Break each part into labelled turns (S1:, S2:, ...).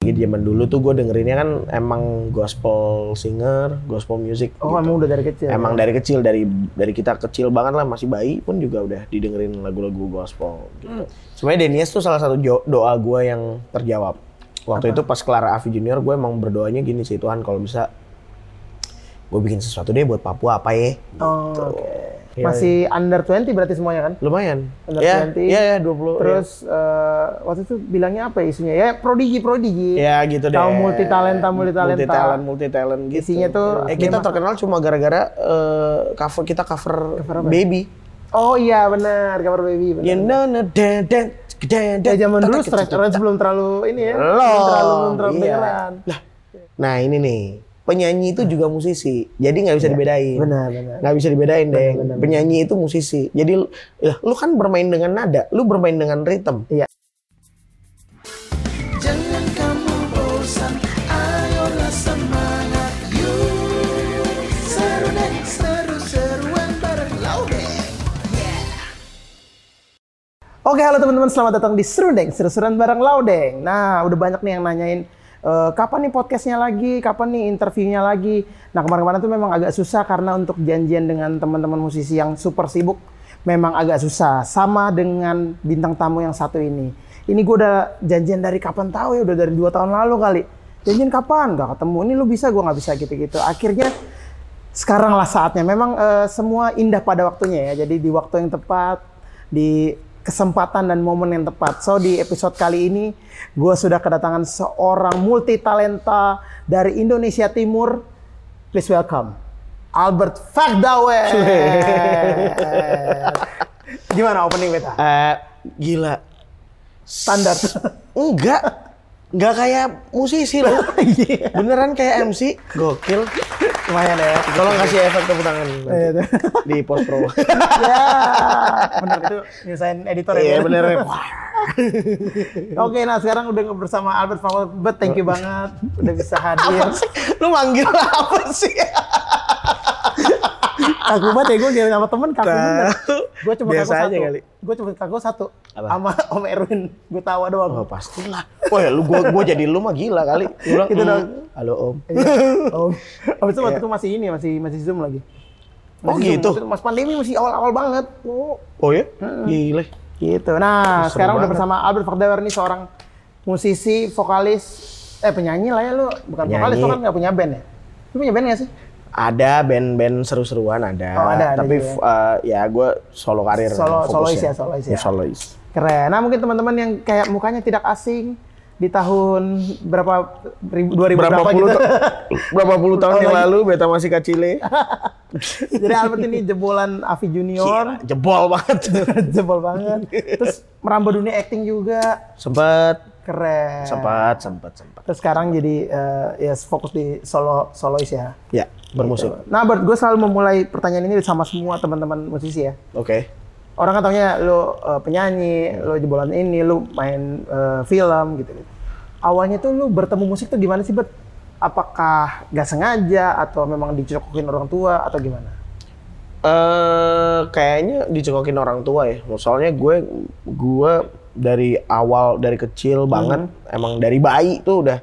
S1: apalagi zaman dulu tuh gue dengerinnya kan emang gospel singer, gospel music.
S2: Oh,
S1: gitu.
S2: emang udah dari kecil.
S1: Emang dari kecil dari dari kita kecil banget lah masih bayi pun juga udah didengerin lagu-lagu gospel. Gitu.
S2: Hmm.
S1: Sebenarnya Denies tuh salah satu jo- doa gue yang terjawab. Waktu itu pas Clara Avi Junior gue emang berdoanya gini sih Tuhan kalau bisa gue bikin sesuatu deh buat Papua apa ya?
S2: Oh,
S1: Gitu.
S2: oke.
S1: Iya,
S2: Masih under 20 berarti semuanya kan?
S1: Lumayan.
S2: Under
S1: ya,
S2: 20.
S1: Iya, ya, 20.
S2: Terus eh, waktu itu bilangnya apa ya isunya? Ya prodigi prodigi.
S1: Ya gitu deh.
S2: Tahu multitalenta, multitalenta.
S1: Multitalent, multitalent gitu.
S2: Isinya tuh
S1: eh, kita
S2: memang-
S1: terkenal cuma gara-gara eh, cover kita cover,
S2: Cover apa?
S1: baby.
S2: Oh iya benar, cover baby benar.
S1: You know, no, dan dan dan dan.
S2: Ya zaman dulu
S1: Tetek,
S2: stretch
S1: tetek,
S2: orange belum terlalu ini ya. Belum terlalu belum terlalu
S1: Iya.
S2: beneran.
S1: Lah. Nah, ini nih. Penyanyi itu juga musisi. Jadi nggak bisa dibedain.
S2: Iya, Benar, benar.
S1: Nggak bisa dibedain, Deng. Penyanyi itu musisi. Jadi lu- lah, lu kan bermain dengan nada, lu bermain dengan ritme.
S2: Iya.
S3: Jangan kamu bosan, ayolah semangat yuk Seru deh, seru-seruan bareng Laudek
S2: Oke, halo teman-teman, selamat datang di Serundeng, seru-seruan bareng Laudeng. Nah, udah banyak nih yang nanyain eh, kapan nih podcastnya lagi, kapan nih interviewnya lagi. Nah, kemarin-kemarin tuh memang agak susah karena untuk janjian dengan teman-teman musisi yang super sibuk memang agak susah. Sama dengan bintang tamu yang satu ini. Ini gue udah janjian dari kapan tahu ya, udah dari dua tahun lalu kali. Janjian kapan? Gak ketemu. Ini lu bisa, gue nggak bisa gitu-gitu. Akhirnya sekaranglah saatnya. Memang eh, semua indah pada waktunya ya. Jadi di waktu yang tepat, di kesempatan dan momen yang tepat. So di episode kali ini, gue sudah kedatangan seorang multi talenta dari Indonesia Timur. Please welcome Albert Fagdawe. Gimana opening beta?
S1: Eh, gila.
S2: Standar.
S1: Enggak. Enggak kayak musisi loh. Beneran kayak MC. Gokil.
S2: Lumayan ya.
S1: Tolong kasih efek tepuk tangan nanti
S2: Iya, tuh.
S1: di post pro.
S2: ya, benar itu nyusahin editor ya.
S1: Iya
S2: Bu?
S1: bener. Iya.
S2: Oke, nah sekarang udah bersama Albert Fakultas. Bet, thank you banget udah bisa hadir.
S1: Apa sih? Lu manggil apa sih?
S2: kaku banget ya gue nyari nama temen kaku
S1: Tahu.
S2: bener. Gue cuma
S1: Biasa
S2: kaku
S1: aja
S2: satu.
S1: kali.
S2: Gue cuma kaku satu.
S1: Apa?
S2: Sama Om Erwin. Gue tawa
S1: Oh,
S2: doang.
S1: pastilah. Wah, lu gua gua jadi lu mah gila kali. Lu bilang,
S2: Gitu
S1: "Mm,
S2: dong.
S1: Halo, Om.
S2: Iya. Om. Abis itu waktu itu masih ini masih masih zoom lagi.
S1: Iya. Oh,
S2: Zoom.
S1: gitu?
S2: Waktu itu Mas pandemi masih awal-awal banget. Oh.
S1: Oh ya? Gila.
S2: Gitu.
S1: Seru
S2: Nah, sekarang udah
S1: banget.
S2: bersama Albert Fardawar nih seorang musisi, vokalis, eh penyanyi lah ya lu. Bukan
S1: Penyanyi.
S2: vokalis, lu kan nggak punya band ya? Lu punya band nggak sih?
S1: Ada band-band seru-seruan ada.
S2: Oh, ada, ada
S1: Tapi
S2: juga.
S1: f- eh, ya gua solo karir.
S2: Solo-
S1: fokusnya.
S2: solois ya, solois ya.
S1: Solois.
S2: Keren. Nah, mungkin teman-teman yang kayak mukanya tidak asing di tahun berapa ribu, 2000
S1: Berapa Oh, iya.
S2: berapa, gitu.
S1: puluh ta- berapa puluh tahun
S2: Tahun
S1: yang
S2: lagi.
S1: lalu beta masih kecil. ya?
S2: Jadi Albert ini jebolan Avi Junior,
S1: Jebol banget.
S2: jebol banget. Terus merambah dunia acting juga,
S1: Sempet,
S2: keren.
S1: sempet, sempet, sempet.
S2: Terus sekarang jadi eh, ya fokus di solo solois ya.
S1: Ya, bermusik.
S2: Gitu. Nah, Albert, gue selalu memulai pertanyaan ini sama semua teman-teman musisi ya.
S1: Oke.
S2: Orang kan taunya lo eh, penyanyi, lo jebolan ini, lo main eh, film gitu. Awalnya tuh lo bertemu musik tuh gimana sih, Bet? Apakah gak sengaja atau memang dicocokin orang tua atau gimana?
S1: eh kayaknya dicekokin orang tua ya. Soalnya gue gue dari awal dari kecil banget emang dari bayi tuh udah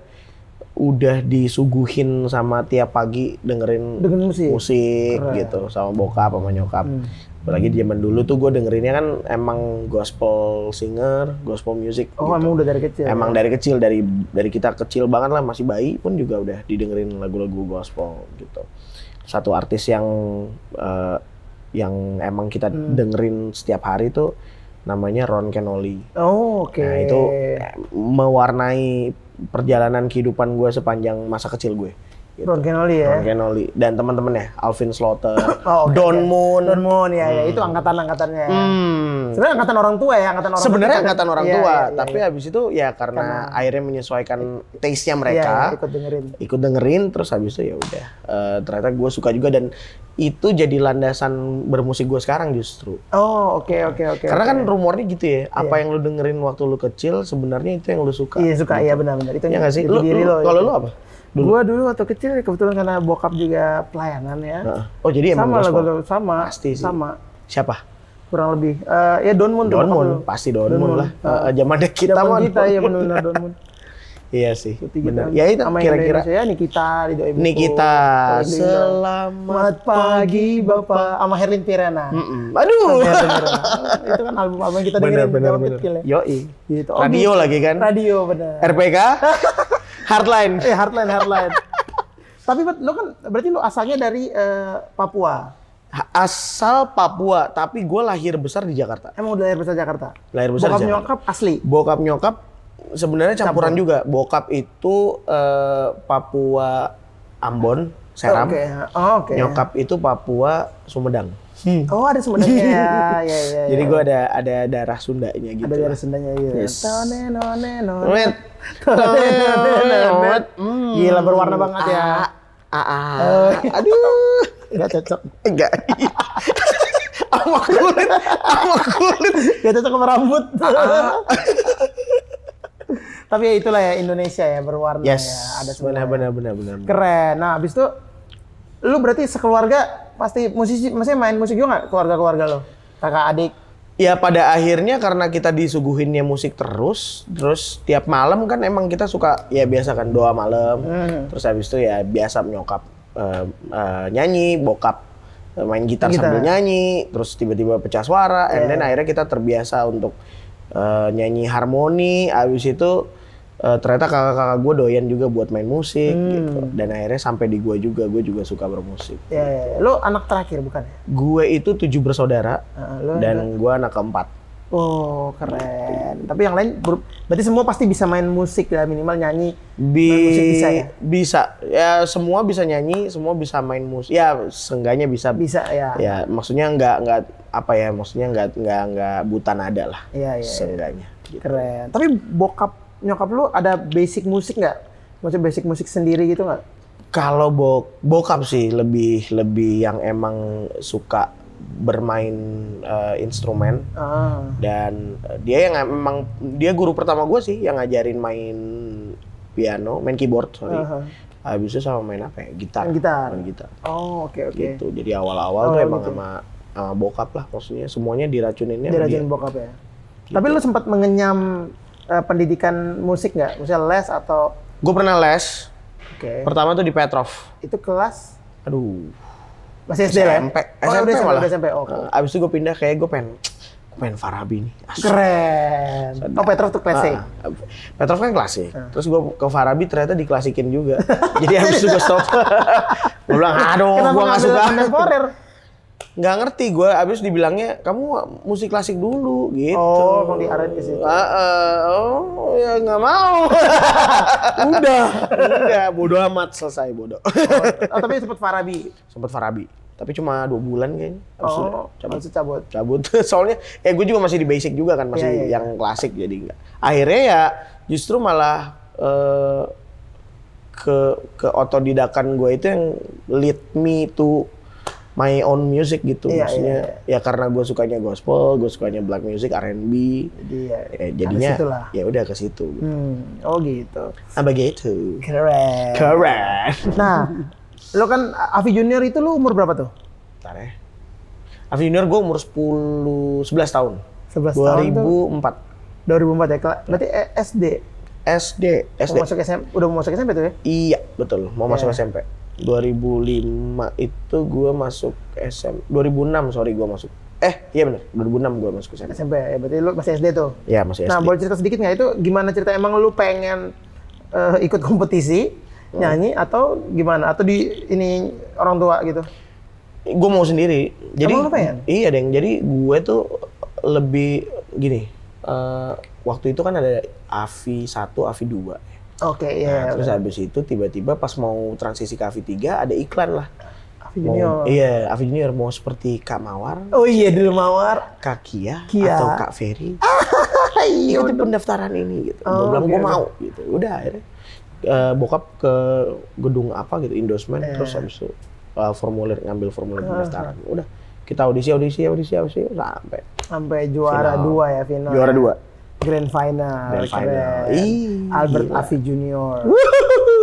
S1: udah disuguhin sama tiap pagi dengerin
S2: Dengerin musik?
S1: musik
S2: Keren.
S1: gitu sama bokap sama nyokap. Apalagi di zaman dulu tuh gue dengerinnya kan emang gospel singer, gospel music.
S2: Oh,
S1: gitu.
S2: emang udah dari kecil.
S1: Emang dari kecil dari dari kita kecil banget lah masih bayi pun juga udah didengerin lagu-lagu gospel gitu. Satu artis yang eh, yang emang kita
S2: Hmm.
S1: dengerin setiap hari tuh namanya Ron Kenoli.
S2: Oh, oke.
S1: Nah, itu eh, mewarnai perjalanan kehidupan gue sepanjang masa kecil gue. Gitu.
S2: Ron Kenoli ya.
S1: Ron Kenoli dan teman-temannya Alvin Slaughter,
S2: Oh, oke,
S1: Don
S2: oke.
S1: Moon.
S2: Don Moon ya, ya. itu angkatan-angkatannya.
S1: Hmm,
S2: Sebenarnya angkatan orang tua ya, angkatan orang
S1: Sebenarnya
S2: kita kan-
S1: angkatan orang
S2: Iya,
S1: tua,
S2: iya, iya,
S1: tapi
S2: iya.
S1: habis itu ya karena, akhirnya menyesuaikan taste-nya
S2: Iya,
S1: mereka,
S2: iya, ikut dengerin.
S1: ikut dengerin, terus habis itu ya udah. Eh, ternyata gue suka juga dan itu jadi landasan bermusik gue sekarang justru.
S2: Oh, oke oke oke.
S1: karena
S2: oke.
S1: kan rumornya gitu ya, apa yang lu dengerin waktu lu kecil sebenarnya itu yang lu suka.
S2: Iya suka, iya benar-benar. Itu
S1: Iya nggak sih?
S2: jadi
S1: Lu,
S2: diri
S1: lu-
S2: lo, ya.
S1: kalau
S2: itu.
S1: lu apa?
S2: Gua dulu waktu kecil kebetulan karena bokap juga pelayanan ya.
S1: Heeh. Oh jadi emang
S2: sama lah
S1: gospel.
S2: gua- sama.
S1: Pasti sih.
S2: Sama.
S1: Siapa?
S2: Kurang lebih. Eh ya Don Moon tuh
S1: Don
S2: bokap
S1: Moon,
S2: dulu.
S1: pasti Don,
S2: Don
S1: Moon
S2: Moon.
S1: lah. Eh, Zaman kita
S2: Zaman
S1: mah
S2: kita
S1: Don
S2: ya
S1: Moon.
S2: benar-benar Don Moon.
S1: Iya sih.
S2: Tiga
S1: Benar.
S2: tahun.
S1: Ya itu
S2: Sama yang
S1: kira-kira
S2: Indonesia, Nikita Ridho Ebiko.
S1: Nikita
S2: Kalau yang di Indo.
S1: selamat.
S2: Selamat pagi Bapak sama Herlin Pirana.
S1: Mm-mm. Aduh.
S2: Herlin Pirana. itu kan album album kita dengerin
S1: Benar benar
S2: zaman
S1: benar.
S2: kecil ya.
S1: Yoi.
S2: Gitu. Oh,
S1: Radio
S2: gitu.
S1: lagi kan?
S2: Radio benar.
S1: RPK. Hardline.
S2: eh hardline hardline. Tapi Bet, lo kan berarti lo asalnya dari eh, Papua.
S1: Ha- Asal Papua, tapi gue lahir besar di Jakarta.
S2: Emang udah lahir besar Jakarta.
S1: Lahir besar
S2: Bokap
S1: Jakarta.
S2: nyokap asli.
S1: Bokap nyokap sebenarnya campuran juga. Bokap itu eh, Papua Ambon, Seram.
S2: Oke. Oh, Oke.
S1: Nyokap itu Papua Sumedang.
S2: Oh ada sebenarnya. ya, ya, ya,
S1: Jadi
S2: ya.
S1: gue ada ada darah Sundanya gitu.
S2: ada
S1: lah.
S2: dari Sundanya ya.
S1: Yes.
S2: Tone, none, none.
S1: Wet. Hmm.
S2: Wet. Gila berwarna banget ya. Eh,
S1: Ah, ah, aduh,
S2: Gak cocok.
S1: enggak. Sama kulit, sama kulit.
S2: Gak cocok sama rambut. Tapi ya itulah ya Indonesia ya berwarna
S1: Yes,
S2: ya. Ada sebenarnya.
S1: benar, benar, benar, benar.
S2: Keren. Nah abis itu lu berarti sekeluarga pasti musisi, maksudnya main musik juga nggak keluarga-keluarga lo? Kakak adik.
S1: Ya pada akhirnya karena kita disuguhinnya musik terus, terus tiap malam kan emang kita suka ya biasa kan doa malam, terus habis itu ya biasa nyokap eh, eh, nyanyi, bokap eh, main gitar,
S2: Gitar.
S1: sambil nyanyi, terus tiba-tiba pecah suara, and then akhirnya kita terbiasa untuk eh, nyanyi harmoni, habis itu eh, ternyata kakak-kakak gue doyan juga buat main musik gitu, dan akhirnya sampai di gue juga, gue juga suka bermusik.
S2: Ya, ya, ya. Lu anak terakhir bukan ya?
S1: Gue itu tujuh bersaudara
S2: Heeh, lu-
S1: dan gue anak keempat.
S2: Oh keren. Tapi yang lain ber- berarti semua pasti bisa main musik ya minimal nyanyi.
S1: Bi
S2: Main musik bisa
S1: bisa,
S2: ya?
S1: ya? semua bisa nyanyi semua bisa main musik ya seenggaknya bisa
S2: Bisa ya.
S1: ya maksudnya nggak nggak apa ya maksudnya nggak nggak nggak buta nada lah
S2: Iya, iya, iya.
S1: seenggaknya gitu.
S2: Keren. Tapi bokap nyokap lu ada basic musik nggak? Maksudnya basic musik sendiri gitu nggak?
S1: kalau bok bokap sih lebih lebih yang emang suka bermain eh, instrumen
S2: Ah.
S1: dan eh, dia yang emang dia guru pertama gue sih yang ngajarin main piano main keyboard sorry
S2: Aha.
S1: habis itu sama main apa ya gitar
S2: Main gitar.
S1: main gitar
S2: Oh oke oke.
S1: gitu. Jadi awal-awal
S2: Oh,
S1: tuh emang
S2: gitu.
S1: sama sama bokap lah maksudnya semuanya diracuninnya sama
S2: Dirajin
S1: dia.
S2: bokap ya.
S1: Gitu.
S2: Tapi lu sempat mengenyam eh, pendidikan musik nggak? Misalnya les atau
S1: Gue pernah les.
S2: oke
S1: Pertama tuh di Petrov.
S2: itu kelas
S1: Aduh.
S2: masih SD lah. ya?
S1: SMP.
S2: Oh,
S1: SMP
S2: udah SMP,
S1: malah.
S2: udah SMP. Oke.
S1: Eh, abis itu gue pindah kayak gue pengen gue pengen Farabi nih. Asli.
S2: Keren. Oh Petrov tuh kelas C.
S1: Ah, ah. Petrov kan klasik.
S2: Ah.
S1: Terus gue ke Farabi ternyata diklasikin juga. Jadi habis itu gue stop. gue bilang, aduh gue gak suka.
S2: kontemporer?
S1: Nggak ngerti gue abis dibilangnya, kamu musik klasik dulu gitu.
S2: Oh, emang diarahin ke situ.
S1: Ah, ah. oh, ya nggak mau. Udah. Udah, bodo amat selesai bodoh.
S2: Oh, tapi sempat Farabi.
S1: Sempet Farabi. Tapi cuma dua bulan kayaknya. Abis itu
S2: Oh,
S1: cabut.
S2: cabut. cabut.
S1: cabut soalnya ya gue juga masih di basic juga kan masih
S2: Iya, iya,
S1: yang klasik jadi enggak akhirnya ya justru malah eh, ke ke otodidakan gue itu yang lead me to my own music gitu
S2: Iya,
S1: maksudnya ya karena gue sukanya gospel gue sukanya black music R&B
S2: Jadi ya,
S1: ya,
S2: ada
S1: jadinya
S2: situ lah.
S1: ya udah ke situ
S2: Hmm, oh gitu.
S1: apa gitu
S2: Keren.
S1: keren
S2: Nah, lo kan Avi Junior itu lo umur berapa tuh?
S1: Bentar ya Avi Junior gue umur 10 11 tahun
S2: 11 tahun tuh.
S1: 2004
S2: 2004 ya, kela- berarti eh, SD.
S1: SD SD
S2: Mau masuk SMP, udah mau masuk SMP tuh ya?
S1: Iya, betul. Mau masuk
S2: Iya.
S1: SMP. 2005 itu gua masuk SMP. 2006 sorry gua masuk. Eh, iya benar. 2006 gua masuk SMP.
S2: SMP ya, berarti lo masih SD tuh.
S1: Iya, masih SD.
S2: Nah, boleh cerita sedikit nggak itu gimana cerita emang lu pengen eh, ikut kompetisi nyanyi atau gimana atau di ini orang tua gitu?
S1: Gua mau sendiri. Jadi
S2: Emang ya? lu pengen?
S1: Iya, Deng. Jadi gue tuh lebih gini. eh, waktu itu kan ada AVI 1, AVI 2.
S2: Oke,
S1: Nah,
S2: ya.
S1: terus habis itu tiba-tiba pas mau transisi ke AVI 3 ada iklan lah.
S2: Avi
S1: Mau-
S2: Junior.
S1: iya, AVI Junior mau seperti Kak Mawar,
S2: Oh iya dulu mawar.
S1: Kak Kia,
S2: Kia.
S1: atau Kak Ferry.
S2: Iya.
S1: ikuti pendaftaran ini gitu.
S2: Oh,
S1: Gua bilang
S2: oke,
S1: gue
S2: oke.
S1: mau gitu. Udah akhirnya eh, bokap ke gedung apa gitu endorsement
S2: Eh.
S1: terus habis itu eh, formulir ngambil formulir pendaftaran. Udah kita audisi audisi audisi audisi sampai
S2: Sampai juara
S1: Final.
S2: dua ya final.
S1: juara
S2: ya.
S1: dua.
S2: Grand final.
S1: Grand final.
S2: Keren.
S1: Ih,
S2: Albert
S1: gila.
S2: Afi Junior.
S1: Wuhuhuhu.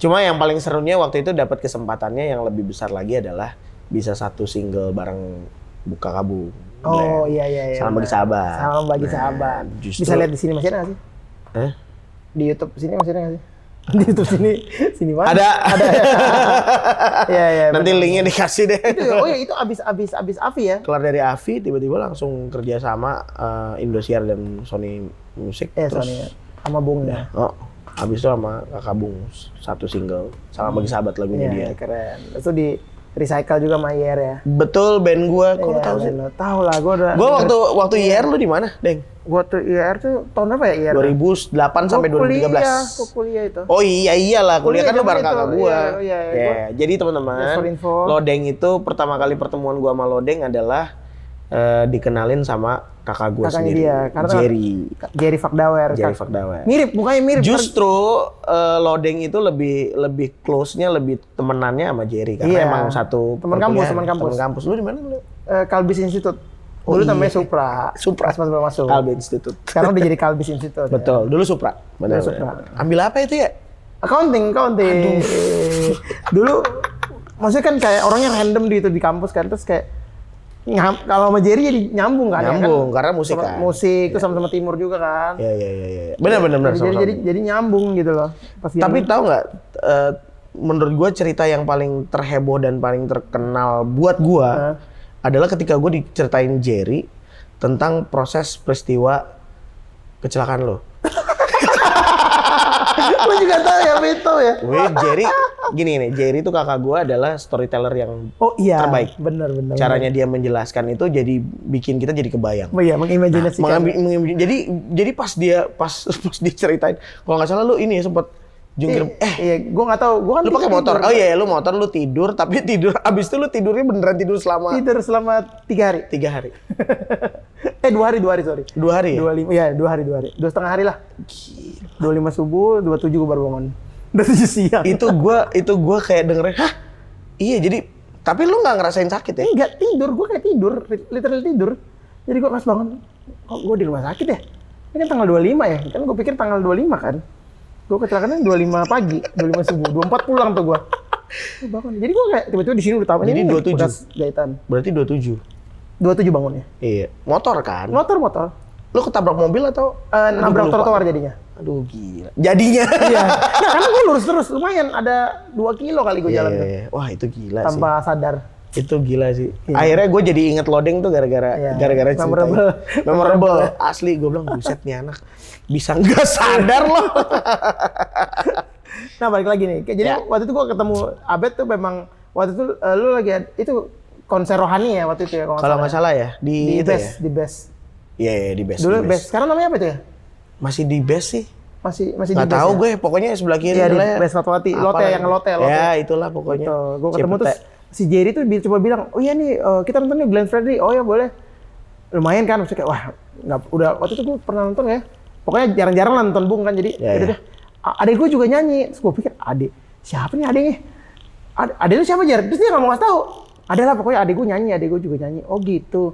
S1: Cuma yang paling serunya waktu itu dapat kesempatannya yang lebih besar lagi adalah bisa satu single bareng buka kabu.
S2: Oh iya iya iya.
S1: Salam bagi sahabat.
S2: Salam bagi
S1: Nah,
S2: sahabat.
S1: justru-
S2: Bisa lihat di sini masih ada nggak sih?
S1: Eh?
S2: Di YouTube sini masih ada nggak sih? Di YouTube sini, sini mana?
S1: Ada.
S2: Ada. Iya, iya.
S1: Nanti
S2: benar.
S1: linknya dikasih deh.
S2: Itu ya, oh ya itu abis abis abis Avi ya?
S1: Kelar dari Avi, tiba-tiba langsung kerja sama eh, Indosiar dan Sony Music.
S2: Eh,
S1: terus,
S2: Sony ya. Sama Bung ya.
S1: Oh, habis itu sama Kakak Bung satu single sama bagi sahabat lagunya
S2: Iya,
S1: dia.
S2: keren. Terus Itu di recycle juga sama IR ya.
S1: Betul band gua, kok lu
S2: Iya,
S1: tahu sih?
S2: benar. Tahu lah gua udah
S1: Gua waktu waktu IR lu di mana, Deng?
S2: gua tuh IR tuh tahun apa ya IR?
S1: 2008
S2: Gua
S1: sampai
S2: Oh, Kuliah, gua
S1: 2013.
S2: kuliah itu.
S1: Oh iya iyalah, kuliah kan lu
S2: Kuliah
S1: bareng
S2: zaman
S1: kakak
S2: itu,
S1: gua.
S2: iya, iya,
S1: Ya,
S2: gua-
S1: jadi teman-teman,
S2: Just for info.
S1: Lodeng itu pertama kali pertemuan gua sama Lodeng adalah eh, dikenalin sama kakak gua
S2: Kakaknya
S1: sendiri,
S2: dia, karena-
S1: Jerry.
S2: Jerry Fakdawer.
S1: Jerry
S2: Kak.
S1: Fakdawer.
S2: Mirip, mukanya mirip.
S1: Justru eh, Lodeng itu lebih lebih close-nya lebih temenannya sama Jerry karena
S2: Iya.
S1: emang satu
S2: Temen kampus,
S1: perkuliahan,
S2: temen kampus.
S1: Temen kampus. Lu di mana lu?
S2: Eh, Kalbis Institute.
S1: Oh,
S2: Dulu
S1: iya.
S2: namanya Supra.
S1: Supra.
S2: Pas pas baru masuk.
S1: Kalbe Institute.
S2: Sekarang udah jadi Kalbis Institute. ya.
S1: Betul, dulu Supra. Benar.
S2: Dulu Supra.
S1: benar. Ambil apa itu ya?
S2: Accounting, accounting. Dulu maksudnya kan kayak orangnya random di itu di kampus kan terus kayak nyam- kalau sama Jerry jadi nyambung kan ya kan?
S1: Nyambung karena musik
S2: Sama-
S1: kan.
S2: musik terus sama-sama timur juga kan.
S1: Ya ya ya ya. Benar benar benar.
S2: jadi, jadi,
S1: sama-sama.
S2: jadi jadi nyambung gitu loh. Pas dia-
S1: Tapi tahu nggak? eh, menurut gue cerita yang paling terheboh dan paling terkenal buat gue adalah ketika gue diceritain Jerry tentang proses peristiwa kecelakaan lo.
S2: lu juga tahu ya itu ya.
S1: Gue Jerry gini nih, Jerry itu kakak gue adalah storyteller yang
S2: Oh iya.
S1: Terbaik.
S2: Benar benar.
S1: caranya dia menjelaskan itu jadi bikin kita jadi kebayang.
S2: Oh iya, mengimajinasikan.
S1: Mengambil, mengambil- jadi jadi pas dia pas pas dia ceritain kalau nggak salah lu ini ya sempat jungkir eh
S2: iya, gua nggak tahu. Gua kan
S1: lu pakai
S2: tidur-
S1: motor oh iya ya, lu motor lu tidur tapi tidur abis itu lu tidurnya beneran tidur selama
S2: Tidur selama tiga hari.
S1: tiga hari
S2: eh dua hari dua hari sorry.
S1: dua hari ya?
S2: Dua lima, ya dua hari dua hari, dua setengah hari lah. Dua lima subuh, dua tujuh gue baru bangun. Dua tujuh siang.
S1: itu gua itu gua kayak dengerin hah iya jadi tapi lu nggak ngerasain sakit ya
S2: Eh, Enggak tidur, gue kayak tidur, literally tidur. Jadi gue pas bangun, kok gue di rumah sakit ya? Ini kan tanggal 25 ya, kan gue pikir tanggal 25 kan. Gue kecelakaannya 25 pagi, 25 subuh, 24 pulang tuh gue. Gua bangun. Jadi gue kayak tiba-tiba di sini udah tahu.
S1: Jadi
S2: ini
S1: 27.
S2: bekas jahitan.
S1: berarti 27
S2: 27 bangunnya.
S1: iya motor kan
S2: Motor motor.
S1: lu ketabrak mobil atau
S2: Eh, nabrak
S1: lupa.
S2: trotoar jadinya.
S1: aduh gila jadinya
S2: Iya. Nah, karena gue lurus terus, lumayan ada 2 kilo kali gue
S1: Iya,
S2: jalan
S1: iya,
S2: tuh.
S1: iya. wah itu gila sih
S2: Tanpa sadar.
S1: itu gila sih Iya. akhirnya gue jadi inget loading tuh gara-gara
S2: Iya.
S1: gara-gara cerita
S2: Memorable.
S1: ini. memorable asli gue bilang buset nih anak bisa nggak sadar loh
S2: Nah balik lagi nih, Kayak- jadi
S1: Ya.
S2: waktu itu gua ketemu Abed tuh memang waktu itu eh, lu lagi ad- itu konser rohani ya waktu itu ya
S1: kalau nggak salah ya
S2: di
S1: di, itu
S2: best
S1: ya
S2: di best
S1: Iya, iya, di best.
S2: dulu
S1: di
S2: best. sekarang namanya apa itu ya
S1: Masih di best sih.
S2: masih masih
S1: Nggak
S2: di best
S1: tahu
S2: ya?
S1: gue, pokoknya sebelah kiri
S2: Iya, di
S1: adalah-
S2: Best Fatwati.
S1: Apalah.
S2: Lote yang lote, lote.
S1: Ya, itulah pokoknya.
S2: Gitu. Gue ketemu
S1: Cipete.
S2: terus si Jerry tuh bi- coba bilang, oh iya nih eh, kita nonton nih Glenn Fredly, oh ya boleh. Lumayan kan, maksudnya kayak wah nggak udah waktu itu gue pernah nonton ya. Pokoknya jarang-jarang lah nonton Bung kan, jadi
S1: Ya,
S2: udah
S1: ya.
S2: deh. A- Adek gue juga nyanyi, terus gue pikir adek siapa nih adeknya? Ad adek lu siapa Jer? Terus dia nggak mau ngasih tahu. Ada lah pokoknya adek gue nyanyi, adek gue juga nyanyi. Oh gitu.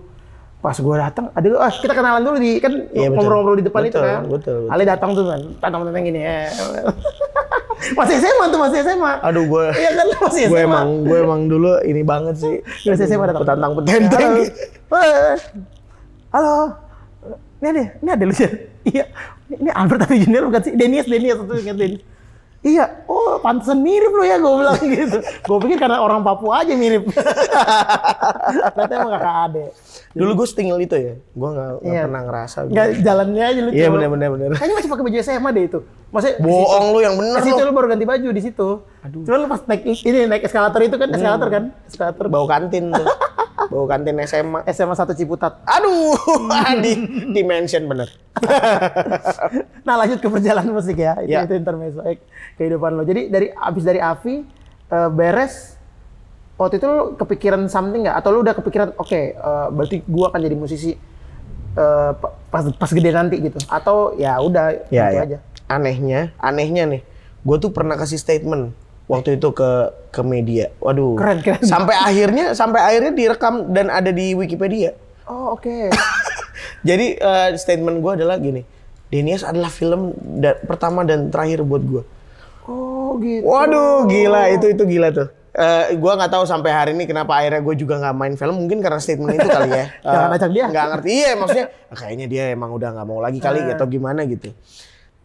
S2: Pas gue datang, adek lu, ah kita kenalan dulu di kan
S1: Iya, betul.
S2: ngobrol-ngobrol di depan itu
S1: Betul,
S2: kan.
S1: betul, betul.
S2: Ale datang tuh kan, tantang-tantang gini. eh. masih SMA tuh, masih SMA.
S1: Aduh, gue
S2: Iya kan lu masih
S1: gue
S2: SMA.
S1: emang gue emang dulu ini banget sih.
S2: Lu masih SMA ya, datang.
S1: Petantang petenteng.
S2: Halo. Woi. Halo. Ini ada, ini ada lu Jan? Iya. Ini Albert tapi Junior bukan sih? Denias, Denias satu ingat Denias. Iya, oh pantesan mirip lu ya gue bilang gitu. Gue pikir karena orang Papua aja mirip. Ternyata emang kakak ade.
S1: Dulu gue setinggal itu ya. Gue nggak nggak
S2: Iya.
S1: pernah ngerasa. gue.
S2: Nggak jalannya aja lu.
S1: Iya,
S2: cuma-
S1: bener, bener, bener.
S2: Kayaknya masih pakai baju SMA deh itu. Maksudnya di situ.
S1: Bohong lu yang bener
S2: Di situ
S1: lu.
S2: lu baru ganti baju di situ. Aduh. Cuma lu pas naik ini naik eskalator itu
S1: Iya.
S2: kan eskalator kan? Eskalator
S1: Bau kantin tuh. Bau kantin SMA.
S2: SMA 1 Ciputat.
S1: Aduh, di dimension bener.
S2: Nah lanjut ke perjalanan musik ya, itu,
S1: Ya.
S2: itu intermezzo eh, kehidupan lo. Jadi dari abis dari Avi eh, beres waktu itu lo kepikiran something nggak? Atau lo udah kepikiran oke eh, berarti gua akan jadi musisi eh, pa- pas pas gede nanti gitu? Atau ya udah
S1: ya,
S2: gitu
S1: ya.
S2: aja?
S1: Anehnya, anehnya nih, gue tuh pernah kasih statement waktu itu ke ke media. Waduh.
S2: Keren, keren.
S1: Sampai akhirnya, sampai akhirnya direkam dan ada di Wikipedia.
S2: Oh oke.
S1: Jadi eh, statement gue adalah gini, Denias adalah film da- pertama dan terakhir buat gue.
S2: oh gitu.
S1: Waduh, gila itu itu gila tuh. Eh, gue nggak tahu sampai hari ini kenapa akhirnya gue juga nggak main film mungkin karena statement itu kali ya. Eh,
S2: Jangan ajak
S1: "Ah,
S2: dia. Eh.
S1: Nggak ngerti iya maksudnya kayaknya dia emang udah nggak mau lagi kali atau gimana gitu.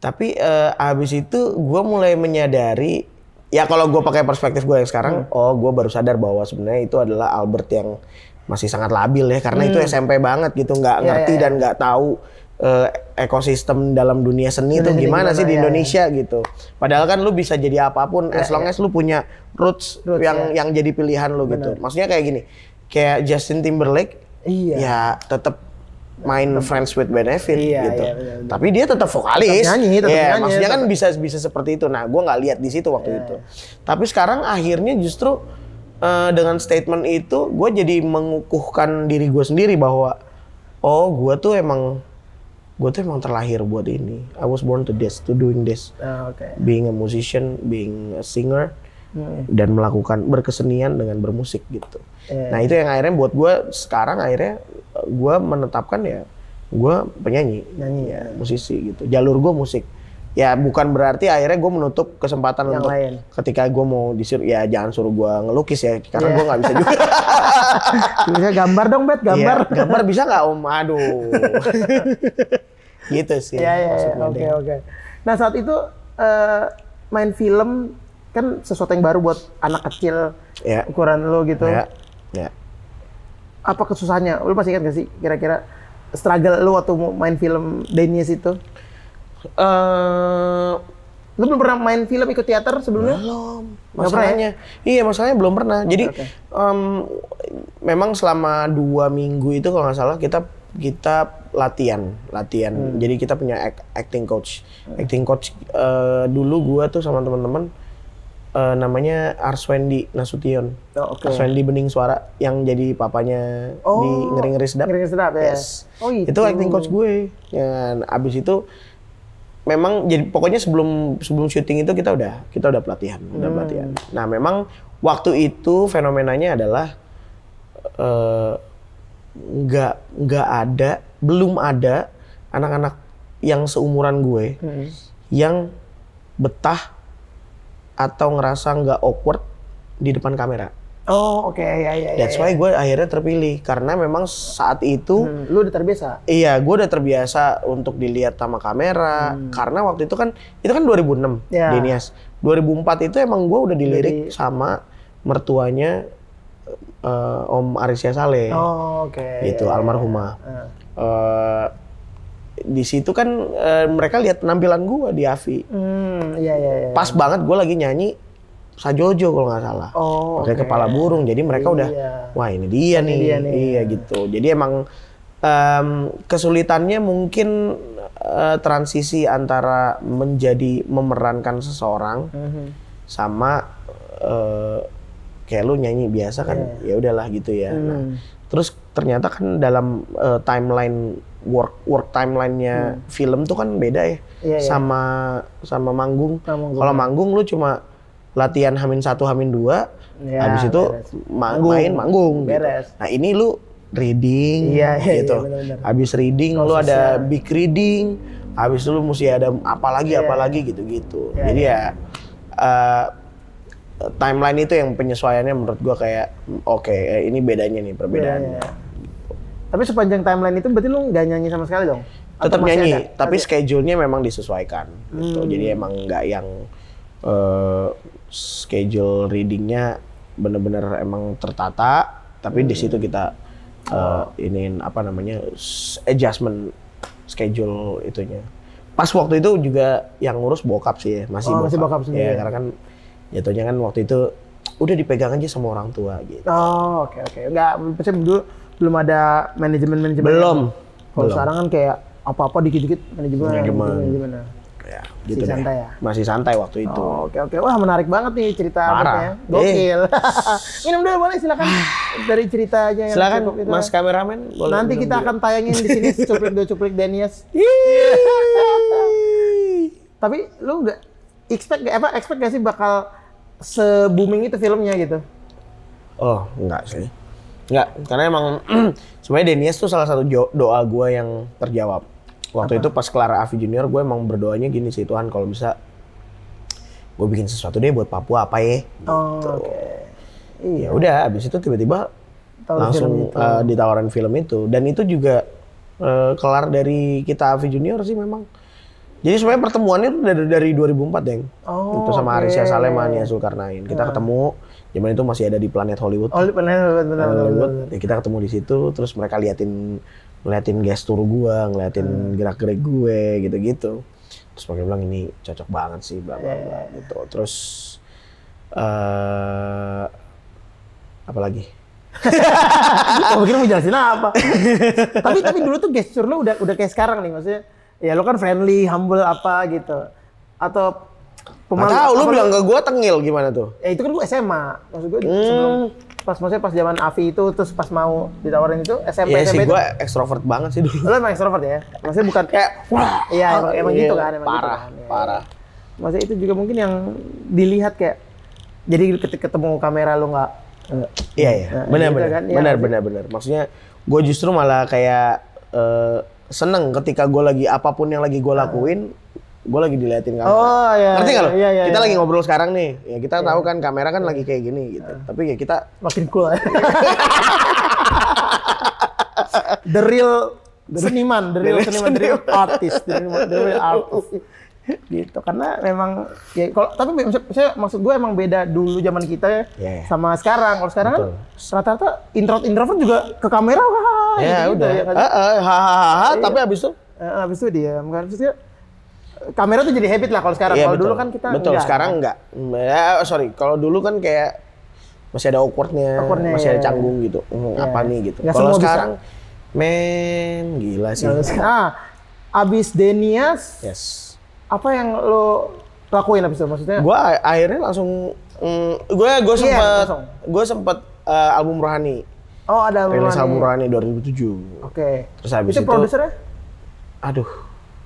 S1: Tapi eh, abis itu gue mulai menyadari, ya kalau gue pakai perspektif gue yang sekarang,
S2: Hmm.
S1: oh gue baru sadar bahwa sebenarnya itu adalah Albert yang masih sangat labil ya, karena itu SMP banget gitu, nggak
S2: Hmm. Iya,
S1: ngerti
S2: iya, iya.
S1: dan nggak tahu eh, ekosistem dalam dunia seni itu
S2: Dunia seni
S1: gimana
S2: gimana,
S1: sih di
S2: iya, iya.
S1: Indonesia gitu. Padahal kan lu bisa jadi apapun, as long as lu punya roots,
S2: Roots, iya.
S1: yang yang jadi pilihan lu gitu. Maksudnya kayak gini, kayak Justin Timberlake,
S2: Iya.
S1: ya tetap main friends with benefit
S2: Iya,
S1: gitu.
S2: iya, benar-benar.
S1: Tapi dia tetap vokalis.
S2: Tetap nyanyi, tetap
S1: Iya,
S2: nyanyi, Iya.
S1: Maksudnya kan
S2: tetap-
S1: bisa bisa seperti itu. Nah, gua nggak lihat di situ waktu itu. Tapi sekarang akhirnya justru eh, dengan statement itu, gue jadi mengukuhkan diri gue sendiri bahwa oh gue tuh emang gue tuh emang terlahir buat ini. I was born to this, to doing this,
S2: Ah, Oke.
S1: being a musician, being a singer dan melakukan berkesenian dengan bermusik gitu.
S2: Iya.
S1: Nah itu yang akhirnya buat gue sekarang akhirnya gue menetapkan ya gue penyanyi,
S2: Nyanyi,
S1: ya, musisi gitu. Jalur gue musik. Ya bukan berarti akhirnya gue menutup kesempatan
S2: Yang
S1: untuk
S2: lain.
S1: ketika gue mau disuruh ya jangan suruh gue ngelukis ya karena
S2: Iya.
S1: gue nggak bisa juga.
S2: Tulisnya gambar dong, Bet, gambar.
S1: Ah. Iya, gambar bisa nggak om? Aduh. gitu sih.
S2: Iya, iya, iya.
S1: maksudnya,
S2: Oke,
S1: Deng.
S2: oke. Nah, saat itu eh, main film kan sesuatu yang baru buat anak kecil
S1: Iya.
S2: ukuran lo gitu.
S1: Ya, ya.
S2: Apa kesusahannya? Lo masih ingat gak sih kira-kira struggle lo waktu mau main film Denies itu?
S1: Eh,
S2: Lo belum pernah main film ikut teater sebelumnya?
S1: Belum.
S2: Nggak pernah ya? Oh,
S1: Masalahnya, iya masalahnya belum pernah. Jadi
S2: oke.
S1: em, memang selama dua minggu itu kalau nggak salah kita kita latihan, latihan.
S2: Hmm.
S1: Jadi kita punya act- acting coach, acting coach eh, dulu gua tuh sama teman-teman eh, namanya Arswendi Nasution,
S2: Oh, oke.
S1: Arswendi Bening Suara yang jadi papanya di
S2: Oh,
S1: ngeri-ngeri sedap.
S2: Ngeri-ngeri sedap ya.
S1: Yes.
S2: Oh, itu.
S1: Itu acting coach gue. Dan abis itu memang jadi pokoknya sebelum sebelum syuting itu kita udah kita udah pelatihan, udah pelatihan. Nah, memang waktu itu fenomenanya adalah eh, nggak nggak ada belum ada anak-anak yang seumuran gue yang betah atau ngerasa nggak awkward di depan kamera.
S2: Oh, oke. Ya, ya, ya.
S1: That's why gue akhirnya terpilih karena memang saat itu
S2: Hmm, Lo udah terbiasa?
S1: Iya, gue udah terbiasa untuk dilihat sama kamera karena waktu itu kan itu kan 2006,
S2: Hmm. Ya.
S1: Denias. 2004 itu emang gue udah dilirik sama mertuanya eh, Om Arisya Saleh,
S2: Oh, oke.
S1: gitu
S2: ya, ya.
S1: almarhumah.
S2: Ah.
S1: Eh, di situ kan eh, mereka lihat penampilan gue di Avi.
S2: Hmm, iya, iya, iya.
S1: Pas banget gue lagi nyanyi Sajojo kalau nggak salah.
S2: Oh,
S1: Pakai
S2: oke.
S1: kepala burung. Jadi mereka
S2: Iya.
S1: udah wah ini dia nih.
S2: dia nih.
S1: Iya gitu. Jadi emang em, kesulitannya mungkin eh, transisi antara menjadi memerankan seseorang
S2: Mhm.
S1: sama eh, kayak lu nyanyi biasa kan ya
S2: Iya.
S1: udahlah gitu ya.
S2: Hmm,
S1: Nah, terus ternyata kan dalam eh, timeline work work timelinenya film tuh kan beda ya
S2: Hmm. Iya, iya.
S1: sama sama manggung.
S2: Sama manggung.
S1: Kalau manggung lu cuma latihan hamin satu hamin dua,
S2: Ya,
S1: habis itu
S2: beres.
S1: ma-
S2: Manggung.
S1: main manggung. gitu.
S2: Beres.
S1: Nah ini lu reading
S2: Iya, iya,
S1: gitu.
S2: iya, benar-benar.
S1: habis reading lu
S2: Prosesnya.
S1: ada big reading, habis itu lu mesti ada apalagi
S2: Iya.
S1: apalagi gitu-gitu.
S2: Iya,
S1: Jadi ya eh, timeline itu yang penyesuaiannya menurut gua kayak oke eh, ini bedanya nih perbedaannya.
S2: Iya, iya. Tapi sepanjang timeline itu berarti lu nggak nyanyi sama sekali dong? Atau
S1: tetap
S2: masih
S1: nyanyi
S2: ada? Hmm.
S1: tapi
S2: Masih-
S1: schedule-nya memang disesuaikan gitu. jadi emang nggak yang eh, schedule readingnya bener-bener emang tertata tapi
S2: Hmm.
S1: di situ kita ini apa namanya s- adjustment schedule itunya pas waktu itu juga yang ngurus bokap sih ya, masih
S2: Oh, masih bokap
S1: Iya,
S2: sendiri.
S1: karena kan jatuhnya kan waktu itu udah dipegang aja sama orang tua gitu
S2: Oh, oke oke. Nggak, maksudnya dulu belum ada manajemen manajemen.
S1: Belum.
S2: Kalau
S1: Belum.
S2: sekarang kan kayak apa-apa dikit-dikit manajemen,
S1: Manajemen.
S2: manajemen, manajemen.
S1: ya gitu deh.
S2: santai ya?
S1: masih santai waktu itu
S2: Oh, Oke oke, wah menarik banget nih cerita
S1: Parah. Eh.
S2: Abadnya. Gokil. Minum dulu boleh silakan dari ceritanya yang
S1: silakan
S2: cukup itu. ya.
S1: mas kameramen boleh
S2: Nanti
S1: minum
S2: kita
S1: dulu.
S2: akan tayangin di sini cuplik dua cuplik Denias. Tapi lu nggak expect nggak- apa expect gak sih bakal se booming itu filmnya gitu?
S1: Oh, enggak sih. Enggak, karena emang sebenarnya Denias tuh salah satu jo- doa gue yang terjawab. Waktu itu pas Clara Avi Junior, gue emang berdoanya gini sih Tuhan kalau bisa gue bikin sesuatu deh buat Papua apa ya?
S2: Oh,
S1: Gitu.
S2: oke.
S1: Ya udah, abis itu tiba-tiba
S2: Tahu
S1: langsung
S2: film itu.
S1: eh, ditawarin film itu dan itu juga eh, kelar dari kita Avi Junior sih memang Jadi sebenarnya pertemuannya tuh dari, dari 2004, Deng.
S2: Oh,
S1: itu sama
S2: oke. Nah.
S1: Arisya Salema, Nia Zulkarnain. Kita ketemu, zaman itu masih ada di planet Hollywood.
S2: Oh, benar benar benar.
S1: Planet
S2: benar.
S1: Hollywood, ya kita ketemu di situ, terus mereka liatin ngeliatin gestur gua, ngeliatin
S2: Hmm.
S1: gerak-gerik gue, gitu-gitu. Terus mereka bilang ini cocok banget sih, bla bla bla gitu. Terus eh apa lagi?
S2: Oh, kira mau jelasin apa? tapi tapi dulu tuh gesture lu udah udah kayak sekarang nih maksudnya. Ya lu kan friendly, humble apa gitu. Atau
S1: Nggak tahu lu
S2: apa
S1: bilang Hmm. ke gua tengil gimana tuh?
S2: Ya itu kan gue SMA. Maksud gue sebelum pas maksudnya pas zaman Avi itu terus pas mau ditawarin itu SMP
S1: Iya sih
S2: SMP itu.
S1: gua ekstrovert banget sih dulu.
S2: Lo emang extrovert ya? Maksudnya bukan
S1: Kayak wah,
S2: Iya, emang, emang
S1: iya,
S2: gitu kan, emang
S1: parah,
S2: gitu kan. Iya.
S1: parah.
S2: Maksudnya itu juga mungkin yang dilihat kayak jadi ketika ketemu kamera lu nggak eh,
S1: Iya iya,
S2: Nah,
S1: benar
S2: gitu
S1: benar,
S2: kan, iya
S1: benar
S2: nggak sih?
S1: benar benar. Maksudnya gue justru malah kayak eh, seneng ketika gue lagi apapun yang lagi gue lakuin, gue lagi diliatin kamera.
S2: Ah. Oh, iya,
S1: Ngerti nggak
S2: iya,
S1: lo?
S2: iya, iya,
S1: kita
S2: iya.
S1: lagi ngobrol sekarang nih, ya kita tahu kan kamera kan lagi kayak gini gitu.
S2: Iya.
S1: Tapi ya kita
S2: makin cool. ya. the real seniman, the real
S1: real
S2: seniman, the real artist, the real, the real artist. gitu karena memang ya kalau tapi maksud- saya maksud gue emang beda dulu zaman kita ya
S1: Iya, iya.
S2: sama sekarang kalau sekarang kan rata-rata introvert introvert juga ke kamera wah
S1: ya
S2: gitu-gitu
S1: udah,
S2: ya kan? Iya.
S1: Eh, eh, hahaha. Tapi abis itu,
S2: Eh, abis itu diam kan maksudnya eh, kamera tuh jadi habit lah kalau sekarang
S1: Iya,
S2: kalau dulu
S1: betul.
S2: kan kita
S1: betul.
S2: enggak.
S1: Sekarang enggak. Hmm, Ya, sorry, kalau dulu kan kayak masih ada awkwardnya,
S2: Awkwardnya,
S1: masih ada
S2: iya,
S1: canggung gitu. Hmm,
S2: Iya.
S1: Apa nih gitu?
S2: Nggak
S1: Kalau
S2: semua bisa.
S1: sekarang, men gila sih.
S2: Kalau sekarang- ah abis Denias
S1: Yes.
S2: apa yang lo lakuin abis itu maksudnya
S1: gue akhirnya langsung gue gue
S2: Iya,
S1: sempet
S2: langsung.
S1: gue sempet eh, album Rohani
S2: oh ada
S1: rilis
S2: Mulani.
S1: album Rohani 2007
S2: oke
S1: Terus habis
S2: itu
S1: itu-
S2: produsernya
S1: aduh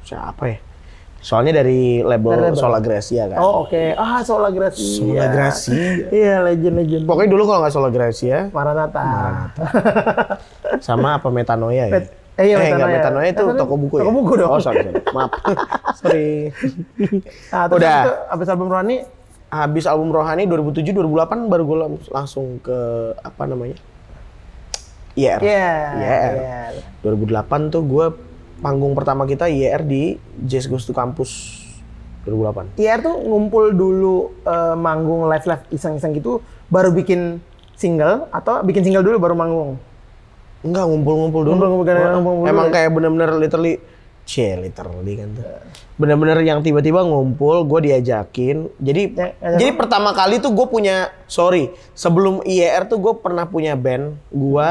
S1: siapa ya soalnya dari
S2: Dari
S1: label,
S2: label.
S1: Sola Gracia kan
S2: oh oke ah Sola Gracia
S1: Sola Gracia.
S2: iya legend legend
S1: pokoknya dulu kalau nggak Sola Gracia
S2: Maranata,
S1: sama apa Metanoia ya
S2: Pet- eh, iya,
S1: nggak,
S2: Metanoia.
S1: Metanoia itu
S2: Metanoia-
S1: toko buku ya
S2: toko buku dong.
S1: oh sorry, sorry. maaf sorry
S2: Nah, terus
S1: Udah.
S2: abis itu abis album Rohani
S1: habis album Rohani 2007 2008 baru gue langsung ke apa namanya IR
S2: Iya,
S1: IR.
S2: IR.
S1: 2008 tuh gue panggung pertama kita IR di Jazz Goes to Campus 2008
S2: IR Iya, tuh ngumpul dulu eh, manggung live live iseng iseng gitu baru bikin single atau bikin single dulu baru manggung
S1: enggak ngumpul-ngumpul dulu
S2: Ngumpul-ngumpul, gara-gara
S1: Wah,
S2: ngumpul-ngumpul
S1: emang
S2: dulu ya.
S1: kayak bener-bener literally cie literally kan tuh bener-bener yang tiba-tiba ngumpul gue diajakin jadi
S2: Ya, ajak
S1: jadi pertama kali tuh gue punya sorry sebelum IR tuh gue pernah punya band gue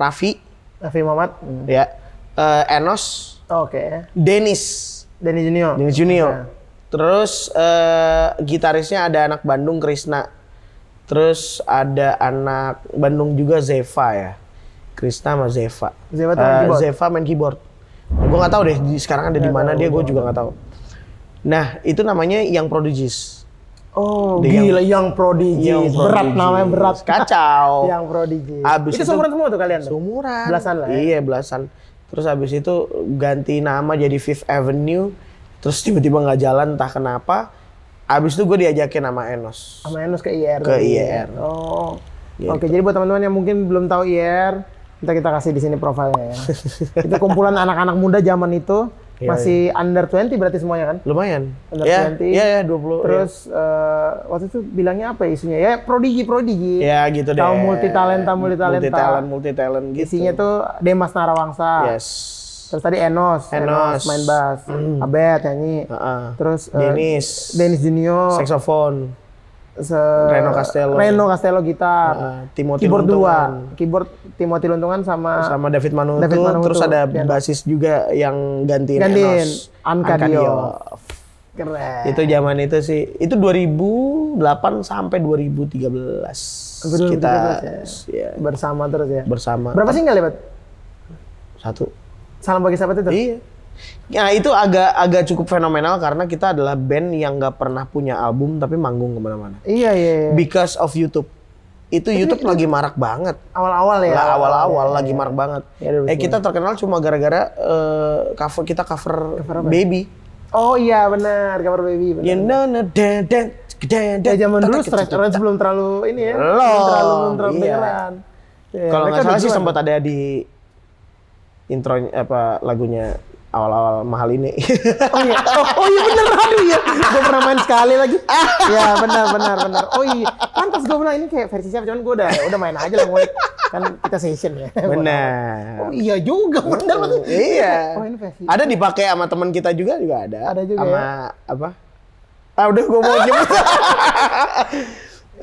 S1: Raffi
S2: Raffi Muhammad hmm.
S1: ya eh, Enos
S2: oke
S1: Dennis
S2: Denny Junior
S1: Dennis Junior. Iya. Terus eh, gitarisnya ada anak Bandung Krisna. Terus ada anak Bandung juga Zeva ya. Krisna sama Zeva.
S2: Zeva tuh main
S1: Eh,
S2: keyboard?
S1: Zeva main keyboard. Gue nggak tahu deh di- sekarang ada di
S2: Nggak
S1: mana
S2: tahu,
S1: dia
S2: gua
S1: gue juga nggak tahu. Nah itu namanya yang prodigies.
S2: oh
S1: Dengan-
S2: gila yang prodigy
S1: Young
S2: Iya, berat
S1: Prodigies.
S2: namanya berat Iya,
S1: Kacau.
S2: yang prodigy
S1: Abis
S2: itu
S1: itu-
S2: seumuran semua tuh kalian tuh?
S1: Seumuran.
S2: Belasan lah ya.
S1: Iya belasan. Terus habis itu ganti nama jadi Fifth Avenue. Terus tiba-tiba nggak jalan entah kenapa. Habis itu gue diajakin sama Enos.
S2: sama Enos ke IR
S1: Ke
S2: tadi.
S1: IR.
S2: oh
S1: Gitu.
S2: oke jadi buat teman-teman yang mungkin belum tahu IR kita kita kasih di sini profilnya ya itu kumpulan anak-anak muda zaman itu
S1: Iya,
S2: masih under 20 berarti semuanya kan
S1: Lumayan.
S2: Under
S1: ya,
S2: 20.
S1: Iya, ya, 20.
S2: Terus eh, waktu itu bilangnya apa ya isunya? Ya prodigi, prodigi.
S1: ya, ya gitu deh.
S2: Tahu multi talenta, multi talenta.
S1: Multi-talent, multi-talent gitu. Iya,
S2: Isinya tuh Demas Narawangsa.
S1: Yes.
S2: Terus tadi Enos,
S1: Enos. Hmm.
S2: main bass, Abed nyanyi.
S1: Heeh.
S2: Terus eh,
S1: Dennis.
S2: Dennis Junior,
S1: Saxophone.
S2: se-
S1: Reno Castello.
S2: Reno Castello gitar.
S1: Heeh, Timothy
S2: keyboard dua,
S1: Luntungan.
S2: keyboard Timothy Luntungan sama,
S1: Sama David Manutu.
S2: Ah. David Manutu,
S1: Terus ada
S2: piano.
S1: basis juga yang gantiin,
S2: Gantiin.
S1: Enos.
S2: Anka
S1: Anka
S2: Diov.
S1: Diov.
S2: keren.
S1: Itu zaman itu sih. Itu 2008 sampai 2013.
S2: Sampai 2013
S1: Kita ya,
S2: Iya. bersama terus ya.
S1: bersama
S2: Berapa single ya, Bet?
S1: satu.
S2: Salam bagi sahabat itu.
S1: Iya. Ya itu agak agak cukup fenomenal karena kita adalah band yang nggak pernah punya album tapi manggung kemana-mana.
S2: Iya, iya, iya.
S1: Because of YouTube. Itu YouTube lagi marak banget.
S2: Awal-awal ya.
S1: Lah, awal-awal
S2: ya,
S1: lagi
S2: ya.
S1: marak banget.
S2: Ya, dulu
S1: eh kita terkenal cuma gara-gara eh, cover kita cover, Baby.
S2: Oh iya benar, cover baby. Benar.
S1: You know, no, dan, dan, dan,
S2: Ya
S1: dan,
S2: zaman dulu
S1: tak, tak,
S2: stress
S1: tak,
S2: Orange belum terlalu ini ya.
S1: gitu, Belum,
S2: Belum terlalu belum terlalu
S1: iya.
S2: kedengeran. Ya,
S1: Kalau
S2: mereka
S1: nggak salah
S2: udah
S1: sih
S2: duluan.
S1: sempat ada di intro apa lagunya awal-awal mahal ini.
S2: Oh iya, oh, oh iya bener, aduh iya. Gue pernah main sekali lagi. Ya benar, benar, benar. Oh iya, pantas gue bilang ini kayak versi siapa, cuman gue udah, udah main aja lah mulai. Kan kita session ya.
S1: Benar.
S2: Oh iya juga, bener banget.
S1: Iya.
S2: Oh ini versi.
S1: Ada dipakai sama teman kita juga juga ada.
S2: Ada juga ya.
S1: Sama apa? Ah udah gua mau nyebut.
S2: Gak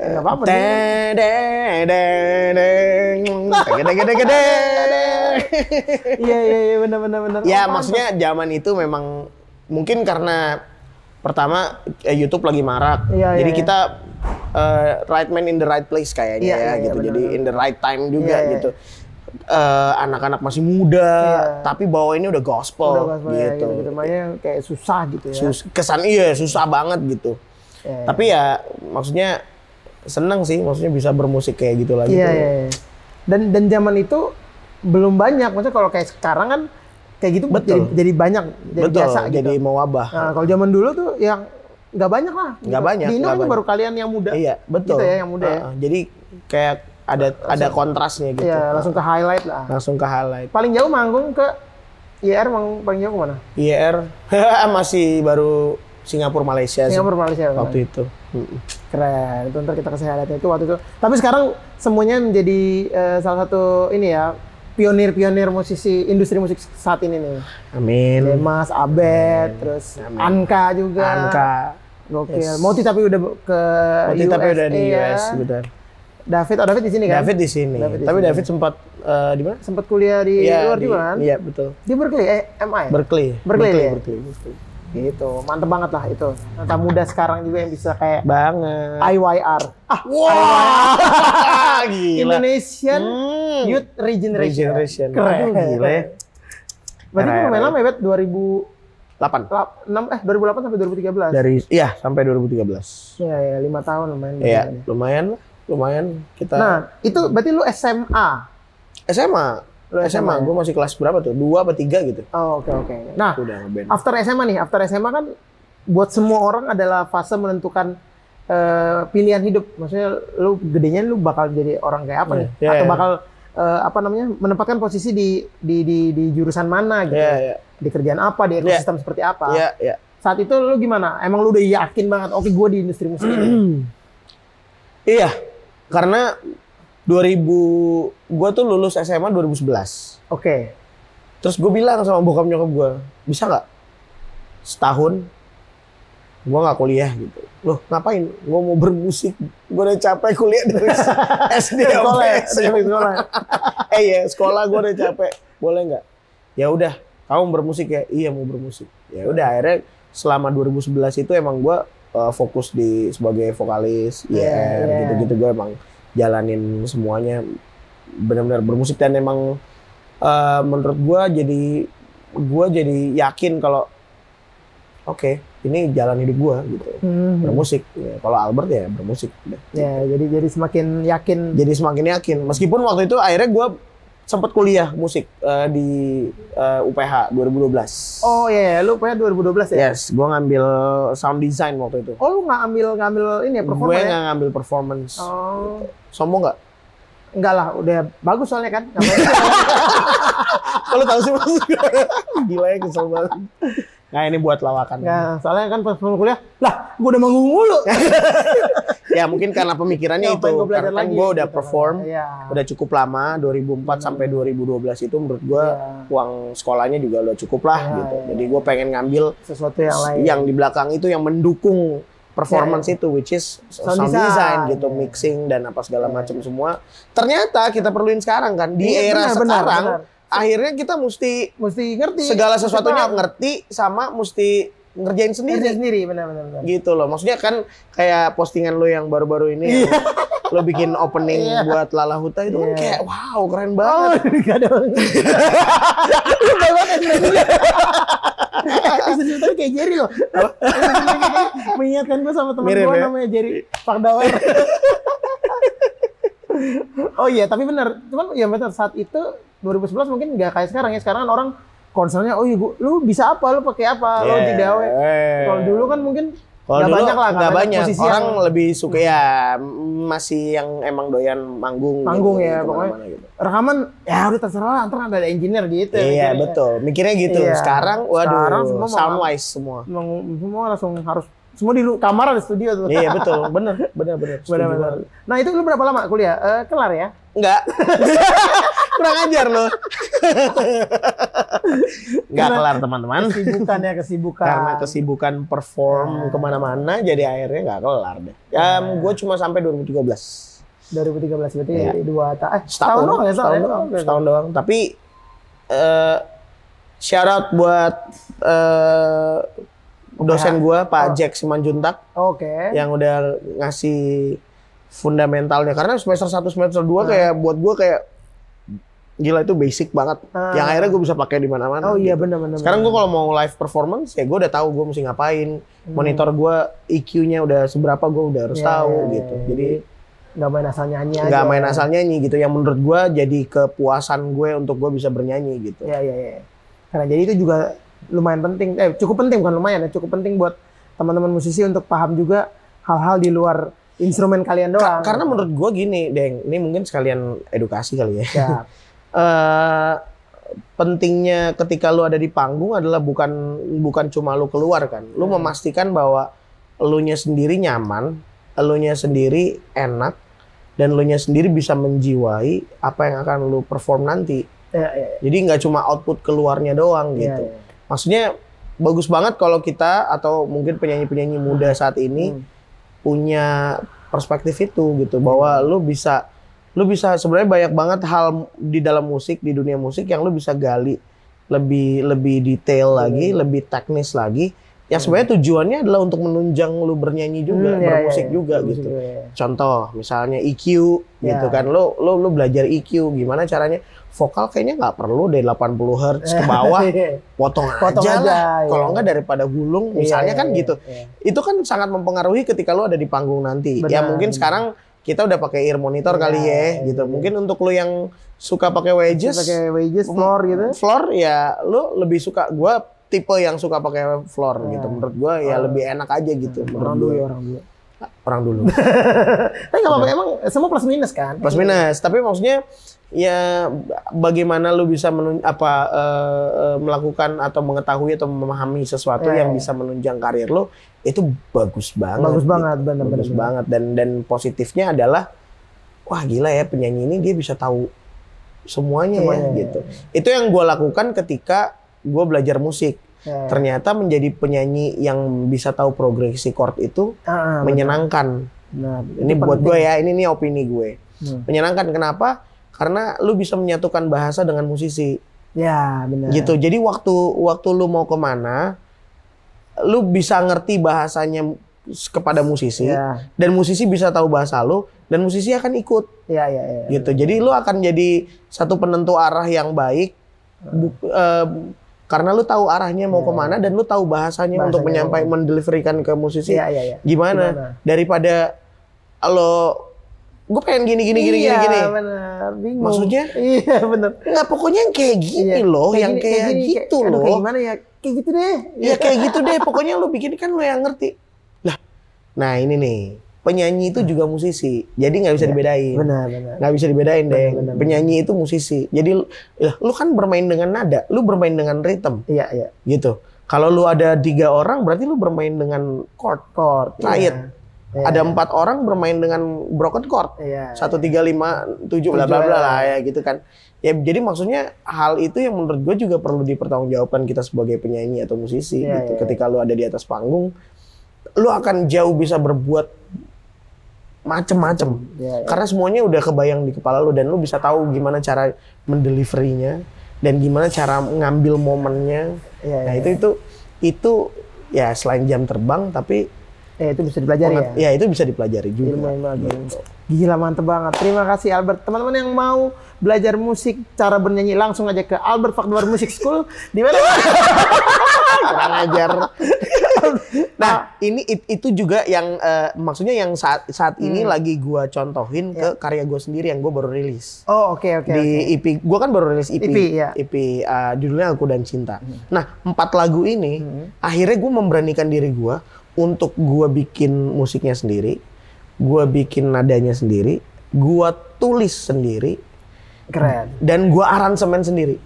S2: eh, apa-apa
S1: Deng,
S2: deh.
S1: deng, deng, deng. Gede, gede, gede.
S2: Iya, iya, iya, bener, bener, bener.
S1: Ya
S2: Oh, pantas.
S1: maksudnya zaman itu memang mungkin karena pertama eh, YouTube lagi marak.
S2: Iya,
S1: Jadi
S2: iya,
S1: kita eh, right man in the right place kayaknya
S2: Iya,
S1: ya
S2: iya, iya,
S1: gitu.
S2: benar,
S1: Jadi
S2: benar.
S1: in the right time juga
S2: Iya, iya.
S1: gitu. Eh, anak-anak masih muda
S2: Iya.
S1: tapi bawainnya udah gospel,
S2: Udah, pas- ya,
S1: gitu.
S2: gitu. Makanya kayak susah gitu ya.
S1: Sus- kesan iya susah banget gitu.
S2: Iya, iya.
S1: Tapi ya maksudnya seneng sih maksudnya bisa bermusik kayak gitu lagi.
S2: Iya,
S1: tuh.
S2: iya, iya. Dan dan zaman itu belum banyak. Maksudnya kalau kayak sekarang kan kayak gitu
S1: Betul.
S2: jadi, jadi banyak, jadi
S1: Betul.
S2: biasa gitu.
S1: jadi mewabah.
S2: Nah, kalau zaman dulu tuh yang nggak banyak lah. gitu.
S1: Nggak banyak,
S2: Di Indo
S1: nggak
S2: kayaknya
S1: banyak.
S2: baru kalian yang muda.
S1: Iya, betul.
S2: Gitu ya, yang muda ya.
S1: Heeh, Jadi kayak ada ada kontrasnya gitu.
S2: Iya, langsung ke highlight lah.
S1: langsung ke highlight.
S2: Paling jauh manggung ke IR mang paling jauh kemana?
S1: IR E masih baru Singapura Malaysia Ya, sih
S2: Singapura Malaysia.
S1: waktu itu. Mm-mm.
S2: Keren. Itu ntar kita kasih highlightnya itu waktu itu. Tapi sekarang semuanya menjadi eh, salah satu ini ya pionir-pionir musisi industri musik saat ini nih.
S1: Amin.
S2: Demas, Abed, terus
S1: Hmm. Amin.
S2: Anka juga.
S1: Angka.
S2: Gokil.
S1: Yes.
S2: Moti tapi udah ke
S1: Waktu tapi
S2: USA
S1: udah di
S2: ya.
S1: US, benar.
S2: David, oh David di sini kan?
S1: David di sini.
S2: David di
S1: Tapi
S2: sini.
S1: David sempat eh, di mana?
S2: sempat kuliah di
S1: Iya,
S2: luar
S1: di-
S2: juga kan?
S1: Iya, betul.
S2: Di Berkeley, eh, MI.
S1: Berkeley.
S2: Berkeley
S1: Berkeley,
S2: ya?
S1: Berkeley, Berkeley.
S2: gitu, mantep banget lah itu. Nata muda sekarang juga yang bisa kayak
S1: Banget.
S2: IYR. Ah,
S1: Wah, gila.
S2: Indonesian
S1: Hmm.
S2: Youth Regeneration.
S1: Regeneration.
S2: Keren.
S1: Aduh, gila ya.
S2: Berarti
S1: Era-era
S2: kan lumayan lama ya, Bet?
S1: 8.
S2: 2006, eh 2008 sampai 2013.
S1: Dari iya sampai 2013.
S2: Iya, ya, 5 tahun lumayan.
S1: Iya,
S2: lumayan.
S1: lumayan lah. Lumayan kita
S2: Nah, itu berarti lu SMA.
S1: SMA.
S2: Lu
S1: SMA,
S2: SMA, ya?
S1: gue masih kelas berapa tuh? Dua apa tiga gitu.
S2: Oh, oke oke. Nah,
S1: Udah ngeband.
S2: after SMA nih, after SMA kan buat semua orang adalah fase menentukan eh, pilihan hidup. Maksudnya lu gedenya lu bakal jadi orang kayak apa nih?
S1: Iya,
S2: Atau
S1: iya.
S2: bakal eh, apa namanya? menempatkan posisi di di di, di jurusan mana gitu.
S1: Iya, iya.
S2: Di kerjaan apa, di ekosistem seperti apa.
S1: Iya, iya.
S2: Saat itu lu gimana? Emang lu udah yakin banget oke gue di industri musik ini.
S1: Iya. Karena 2000 gue tuh lulus SMA 2011.
S2: Oke.
S1: Terus gue bilang sama bokap nyokap gue, bisa nggak setahun gue nggak kuliah gitu. Loh ngapain? Gue mau bermusik. Gue udah capek kuliah dari SD
S2: Dari sekolah
S1: sampai
S2: ya? Dari
S1: SMA.
S2: sekolah.
S1: eh ya sekolah gue udah capek. Boleh nggak? Ya udah. Kamu bermusik ya? Iya mau bermusik. Ya udah akhirnya selama 2011 itu emang gue eh, fokus di sebagai vokalis, IR,
S2: Iya, iya.
S1: gitu-gitu gue emang jalanin semuanya benar-benar bermusik dan emang eh, menurut gua jadi gua jadi yakin kalau oke ini jalan hidup gua gitu
S2: Hmm.
S1: bermusik Ya, kalau Albert ya bermusik udah.
S2: Ya, jadi jadi semakin yakin
S1: jadi semakin yakin meskipun waktu itu akhirnya gua sempat kuliah musik eh, di eh, UPH 2012
S2: Oh iya, iya. lu punya 2012 ya?
S1: yes gua ngambil sound design waktu itu
S2: Oh lu nggak ambil ngambil ini ya performa
S1: gue
S2: ya?
S1: nggak ngambil performance
S2: Oh.
S1: sombong nggak
S2: Enggak lah, udah bagus soalnya kan. Nggak apa-apa.
S1: kalau tahu sih mas gila ya kesel banget nah ini buat lawakan
S2: Nggak, soalnya kan pas pulang kuliah, lah gue udah manggung mulu.
S1: ya mungkin karena pemikirannya Kan itu
S2: Ngapain gua belajar
S1: karena kan
S2: lagi?
S1: gue udah
S2: Gitu.
S1: perform
S2: Iya.
S1: udah cukup lama 2004 sampai 2012 itu menurut gue uang sekolahnya juga udah cukup lah
S2: Iya,
S1: gitu
S2: iya.
S1: jadi gue pengen ngambil
S2: Sesuatu yang lain. Ya,
S1: yang di belakang itu yang mendukung performance itu which is
S2: Sound
S1: sound, design,
S2: design,
S1: gitu
S2: iya.
S1: mixing dan apa segala
S2: Iya.
S1: macam semua ternyata kita perluin sekarang kan di
S2: Iya,
S1: era
S2: benar, benar,
S1: sekarang
S2: benar.
S1: akhirnya kita mesti
S2: Mesti ngerti.
S1: segala
S2: mesti
S1: sesuatunya
S2: paham.
S1: ngerti sama mesti ngerjain
S2: Ngerti
S1: sendiri
S2: sendiri, benar-benar. benar.
S1: gitu loh. Maksudnya kan kayak postingan lo yang baru-baru ini yang lo bikin opening
S2: Iya.
S1: buat Lala Huta itu kan
S2: Iya.
S1: kayak wow keren
S2: Oh,
S1: banget.
S2: enggak dong. Lu banget ekspresinya. Ekspresinya tadi kayak Jerry loh. Mengingatkan gue sama teman
S1: Mirip
S2: gue
S1: ya?
S2: namanya Jerry Pakdawan. oh iya, tapi benar. Cuman ya benar saat itu 2011 mungkin nggak kayak sekarang ya. Sekarang kan orang concernnya, oh iya, gua- lu bisa apa, lu pakai apa, lu
S1: Yeah.
S2: digawe. Kalau dulu kan mungkin
S1: Kalau
S2: Nggak
S1: dulu
S2: banyak lah, nggak
S1: nggak
S2: banyak
S1: banyak.
S2: musisi
S1: Orang
S2: yang- Hmm.
S1: lebih suka ya masih yang emang doyan manggung.
S2: Manggung ya,
S1: gitu,
S2: pokoknya.
S1: kemana-mana gitu.
S2: Rekaman ya udah terserah lah, ntar ada engineer gitu.
S1: Iya
S2: mikirnya.
S1: betul. Mikirnya gitu.
S2: Iya.
S1: Sekarang, waduh,
S2: Sekarang semua mau-
S1: soundwise semua.
S2: Emang Semua langsung harus semua di ru- kamar ada studio tuh.
S1: iya betul, bener, bener, bener.
S2: Benar,
S1: Setuju
S2: benar.
S1: banget.
S2: Nah itu lu berapa lama kuliah? Eh, kelar ya?
S1: Enggak. Kurang ajar loh. Enggak
S2: Karena-
S1: kelar teman-teman.
S2: Kesibukan ya kesibukan.
S1: Karena kesibukan
S2: Ya.
S1: perform kemana-mana, jadi akhirnya nggak kelar deh. Ya, gue cuma sampai 2013.
S2: 2013 berarti
S1: Iya.
S2: dua ta eh
S1: setahun
S2: doang
S1: setahun
S2: ya setahun
S1: doang,
S2: doang.
S1: setahun doang. tapi eh shout out buat eh dosen gua Pak Jack Simanjuntak
S2: Oh. Oke.
S1: yang udah ngasih fundamentalnya karena semester 1 semester 2
S2: Nah.
S1: kayak buat gua kayak gila itu basic banget
S2: Ah.
S1: yang akhirnya gua bisa pakai di mana-mana
S2: Oh iya
S1: gitu.
S2: benar-benar.
S1: sekarang gua kalau mau live performance ya gua udah tahu gua mesti ngapain monitor gua IQ-nya udah seberapa gua udah harus
S2: Hmm. Iya,
S1: tahu
S2: iya,
S1: gitu
S2: iya.
S1: jadi
S2: nggak main asal nyanyi aja.
S1: nggak main asal nyanyi gitu yang menurut gue jadi kepuasan gue untuk gue bisa bernyanyi gitu
S2: Iya iya iya. Karena jadi itu juga lumayan penting. Eh cukup penting bukan lumayan ya, cukup penting buat teman-teman musisi untuk paham juga hal-hal di luar instrumen kalian doang.
S1: Ka- karena menurut gue gini deng ini mungkin sekalian edukasi kali ya
S2: ya,
S1: Eh, pentingnya ketika lu ada di panggung adalah bukan bukan cuma lu keluar kan lu memastikan bahwa elunya sendiri nyaman elunya sendiri enak dan elunya sendiri bisa menjiwai apa yang akan lu perform nanti
S2: ya, ya,
S1: jadi nggak cuma output keluarnya doang
S2: ya,
S1: gitu
S2: ya.
S1: maksudnya bagus banget kalau kita atau mungkin penyanyi-penyanyi muda saat ini
S2: Hmm.
S1: punya perspektif itu gitu bahwa lu bisa lu bisa sebenarnya banyak banget hal di dalam musik di dunia musik yang lu bisa gali lebih lebih
S2: Iya.
S1: detail lagi lebih teknis lagi yang sebenarnya tujuannya adalah untuk menunjang lu bernyanyi juga
S2: Hmm, ya, ya,
S1: bermusik
S2: ya.
S1: juga
S2: Bermusik
S1: gitu
S2: juga, ya.
S1: contoh misalnya EQ gitu
S2: Ya.
S1: kan lo lo lo belajar EQ gimana caranya vokal kayaknya nggak perlu dari 80 hertz ke bawah potong,
S2: Ya, Potong
S1: aja,
S2: aja,
S1: lah.
S2: iya.
S1: Kalau enggak daripada gulung, misalnya
S2: Iya,
S1: kan
S2: iya,
S1: gitu.
S2: iya.
S1: Itu kan sangat mempengaruhi ketika lu ada di panggung nanti. ya
S2: Benar,
S1: mungkin
S2: benar.
S1: sekarang kita udah pakai ear monitor
S2: Iya,
S1: kali ya,
S2: iya,
S1: gitu.
S2: iya.
S1: Mungkin untuk lu yang suka pakai wedges,
S2: pakai wages floor gitu.
S1: floor ya lu lebih suka gua tipe yang suka pakai floor
S2: Iya.
S1: gitu. Menurut gua ya
S2: Oh.
S1: lebih enak aja gitu menurut
S2: Orang dulu, ya.
S1: gue.
S2: orang dulu.
S1: Orang dulu.
S2: Tapi nggak apa-apa, emang semua plus minus kan?
S1: Plus minus, tapi maksudnya ya bagaimana lu bisa menun apa eh, eh, melakukan atau mengetahui atau memahami sesuatu
S2: Ya,
S1: yang
S2: ya.
S1: bisa menunjang karir lu itu bagus banget.
S2: Bagus
S1: gitu.
S2: banget, benar-benar.
S1: Bagus banget dan dan positifnya adalah wah gila ya penyanyi ini dia bisa tahu semuanya,
S2: Semuanya,
S1: ya
S2: ya.
S1: gitu. Itu yang gua lakukan ketika gua belajar musik.
S2: Ya.
S1: Ternyata menjadi penyanyi yang bisa tahu progresi chord itu
S2: Ah, ah,
S1: menyenangkan.
S2: Nah,
S1: Ini buat gue ya, ini nih opini gue
S2: Hmm.
S1: menyenangkan kenapa karena lu bisa menyatukan bahasa dengan musisi
S2: Ya, benar.
S1: gitu jadi waktu waktu lu mau kemana lu bisa ngerti bahasanya s- kepada musisi
S2: Ya,
S1: dan musisi bisa tahu bahasa lu dan musisi akan ikut
S2: ya, ya. ya.
S1: gitu jadi lu akan jadi satu penentu arah yang baik
S2: Hmm.
S1: bu- eh, karena lu tahu arahnya mau kemana dan lu tahu bahasanya,
S2: Ya. Bahasanya
S1: untuk menyampaikan mendeliverikan ke musisi
S2: Ya, ya, ya.
S1: gimana?
S2: Gimana?
S1: daripada lo gue pengen gini gini gini gini
S2: iya,
S1: gini
S2: benar. Bingung.
S1: Maksudnya?
S2: Iya, benar.
S1: Nggak, pokoknya yang kayak gini loh, yang
S2: Iya. gini,
S1: kayak,
S2: gini,
S1: gitu
S2: kayak- aduh,
S1: loh.
S2: Kayak gimana ya? Kayak gitu deh.
S1: ya kayak gitu deh, pokoknya lu bikin kan lu yang ngerti. Lah, nah ini nih, penyanyi itu juga musisi. Jadi nggak bisa dibedain.
S2: Iya. Benar, benar.
S1: Nggak bisa dibedain deh.
S2: benar,
S1: penyanyi itu musisi. Jadi lu- lah, lu kan bermain dengan nada, lu bermain dengan ritme
S2: Iya, iya.
S1: gitu. Kalau lu ada tiga orang berarti lu bermain dengan chord.
S2: Chord.
S1: Triad.
S2: Iya.
S1: Ada empat orang bermain dengan broken chord.
S2: Iya.
S1: satu tiga lima tujuh bla bla bla lah ya gitu kan ya jadi maksudnya hal itu yang menurut gue juga perlu dipertanggungjawabkan kita sebagai penyanyi atau musisi
S2: Iya,
S1: gitu
S2: iya.
S1: ketika lu ada di atas panggung lu akan jauh bisa berbuat macem-macem
S2: Iya, iya.
S1: karena semuanya udah kebayang di kepala lu dan lu bisa tahu gimana cara mendeliverinya dan gimana cara ngambil momennya
S2: Iya,
S1: nah
S2: iya.
S1: itu itu itu ya selain jam terbang tapi
S2: Eh, itu bisa dipelajari ya. Iya,
S1: penget- ya itu bisa dipelajari juga
S2: Ilmu yang bagus. Gila mantep banget. Terima kasih Albert. Teman-teman yang mau belajar musik, cara bernyanyi langsung aja ke Albert Fakduar Music School. Di mana?
S1: kurang ajar. nah,
S2: Oh.
S1: ini it- itu juga yang eh, maksudnya yang saat saat
S2: Hmm.
S1: ini lagi gua contohin ke karya gua sendiri yang gua baru rilis.
S2: Oh, oke Ya. oke.
S1: di
S2: oke.
S1: EP gua kan baru rilis E EP.
S2: EP, ya. Hmm.
S1: EP, eh, judulnya Aku dan Cinta. Nah, empat lagu ini akhirnya gua memberanikan diri gua untuk gua bikin musiknya sendiri, gua bikin nadanya sendiri, gua tulis sendiri
S2: Keren.
S1: dan gua aransemen sendiri.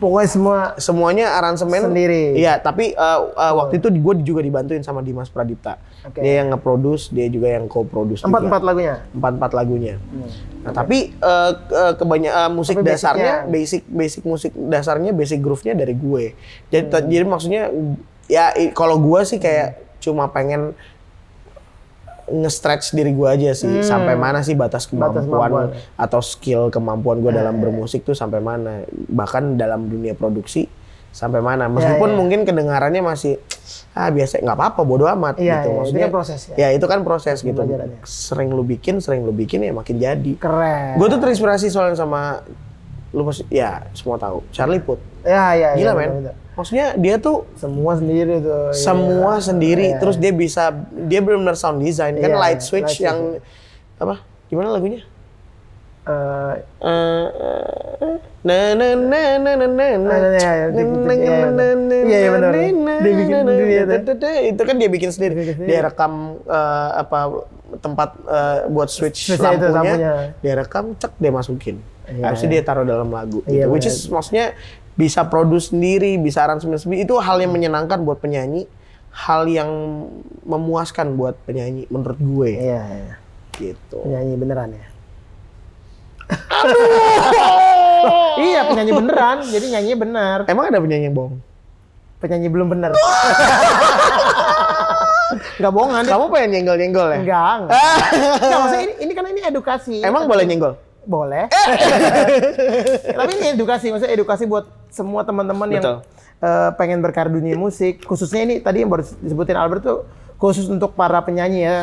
S2: Pokoknya semua
S1: Iya. Semuanya aransemen
S2: Sendiri.
S1: Iya, tapi uh, uh, waktu itu gue juga dibantuin sama Dimas Pradipta.
S2: Oke.
S1: Dia yang nge-produce, dia juga yang co-produce.
S2: empat
S1: juga.
S2: empat lagunya.
S1: empat empat lagunya. Nah, tapi eh, ke- kebanyak eh, musik
S2: Hmm. Tapi
S1: dasarnya basic basic musik dasarnya basic groove-nya dari gue. Jadi
S2: Hmm.
S1: jadi maksudnya ya i- kalau gue sih kayak cuma pengen nge-stretch diri gue aja sih sampai mana sih batas kemampuan,
S2: Hmm. kemampuan. Eh,
S1: atau skill kemampuan gue dalam bermusik tuh sampai mana bahkan dalam dunia produksi sampai mana meskipun
S2: ya.
S1: mungkin kedengarannya masih ah biasa nggak apa-apa bodo amat
S2: Iya,
S1: gitu
S2: iya, itu
S1: maksudnya
S2: kan proses ya.
S1: ya itu kan proses gitu
S2: Pembelajarannya.
S1: sering lu bikin sering lu bikin ya makin jadi
S2: Keren.
S1: gue tuh terinspirasi soalnya sama lu pasti ya semua tahu Charlie Puth
S2: ya ya.
S1: gila
S2: ya,
S1: men
S2: bener-bener.
S1: maksudnya dia tuh
S2: Semua sendiri tuh. iya.
S1: semua sendiri terus dia bisa dia benar-benar sound design kan
S2: Iya,
S1: light switch
S2: light
S1: yang apa gimana lagunya
S2: Eh,
S1: Eh, eh, na na na na na na na.
S2: Ah, iya, iya,
S1: Na,
S2: gitu,
S1: na,
S2: iya,
S1: na, na, na,
S2: iya, iya, benar, benar.
S1: na,
S2: Dia bikin
S1: na, na,
S2: sendiri, ya,
S1: da, da, da. itu kan dia bikin sendiri
S2: Dia bikin sendiri.
S1: dia rekam eh, apa tempat eh, buat switch
S2: Switch-nya itu,
S1: lampunya,
S2: lampunya.
S1: dia rekam cek dia masukin
S2: Iya,
S1: habis itu dia taruh dalam lagu gitu.
S2: Iya,
S1: which
S2: benar.
S1: is maksudnya bisa produce sendiri bisa aransemen sendiri itu hal yang menyenangkan buat penyanyi hal yang memuaskan buat penyanyi menurut gue
S2: iya, iya.
S1: gitu
S2: Penyanyi beneran ya. iya penyanyi beneran, jadi nyanyi bener.
S1: emang ada penyanyi yang bohong
S2: Penyanyi belum bener.
S1: Gak bohongan. Kamu pengen nyenggol-nyenggol ya?
S2: Enggak, enggak. Enggak, maksudnya ini, ini karena ini edukasi.
S1: Emang boleh nyenggol?
S2: boleh. Tapi ini edukasi, maksudnya edukasi buat semua teman-teman yang
S1: Betul.
S2: eh, pengen berkarir dunia musik. Khususnya ini tadi yang baru disebutin Albert tuh khusus untuk para penyanyi ya.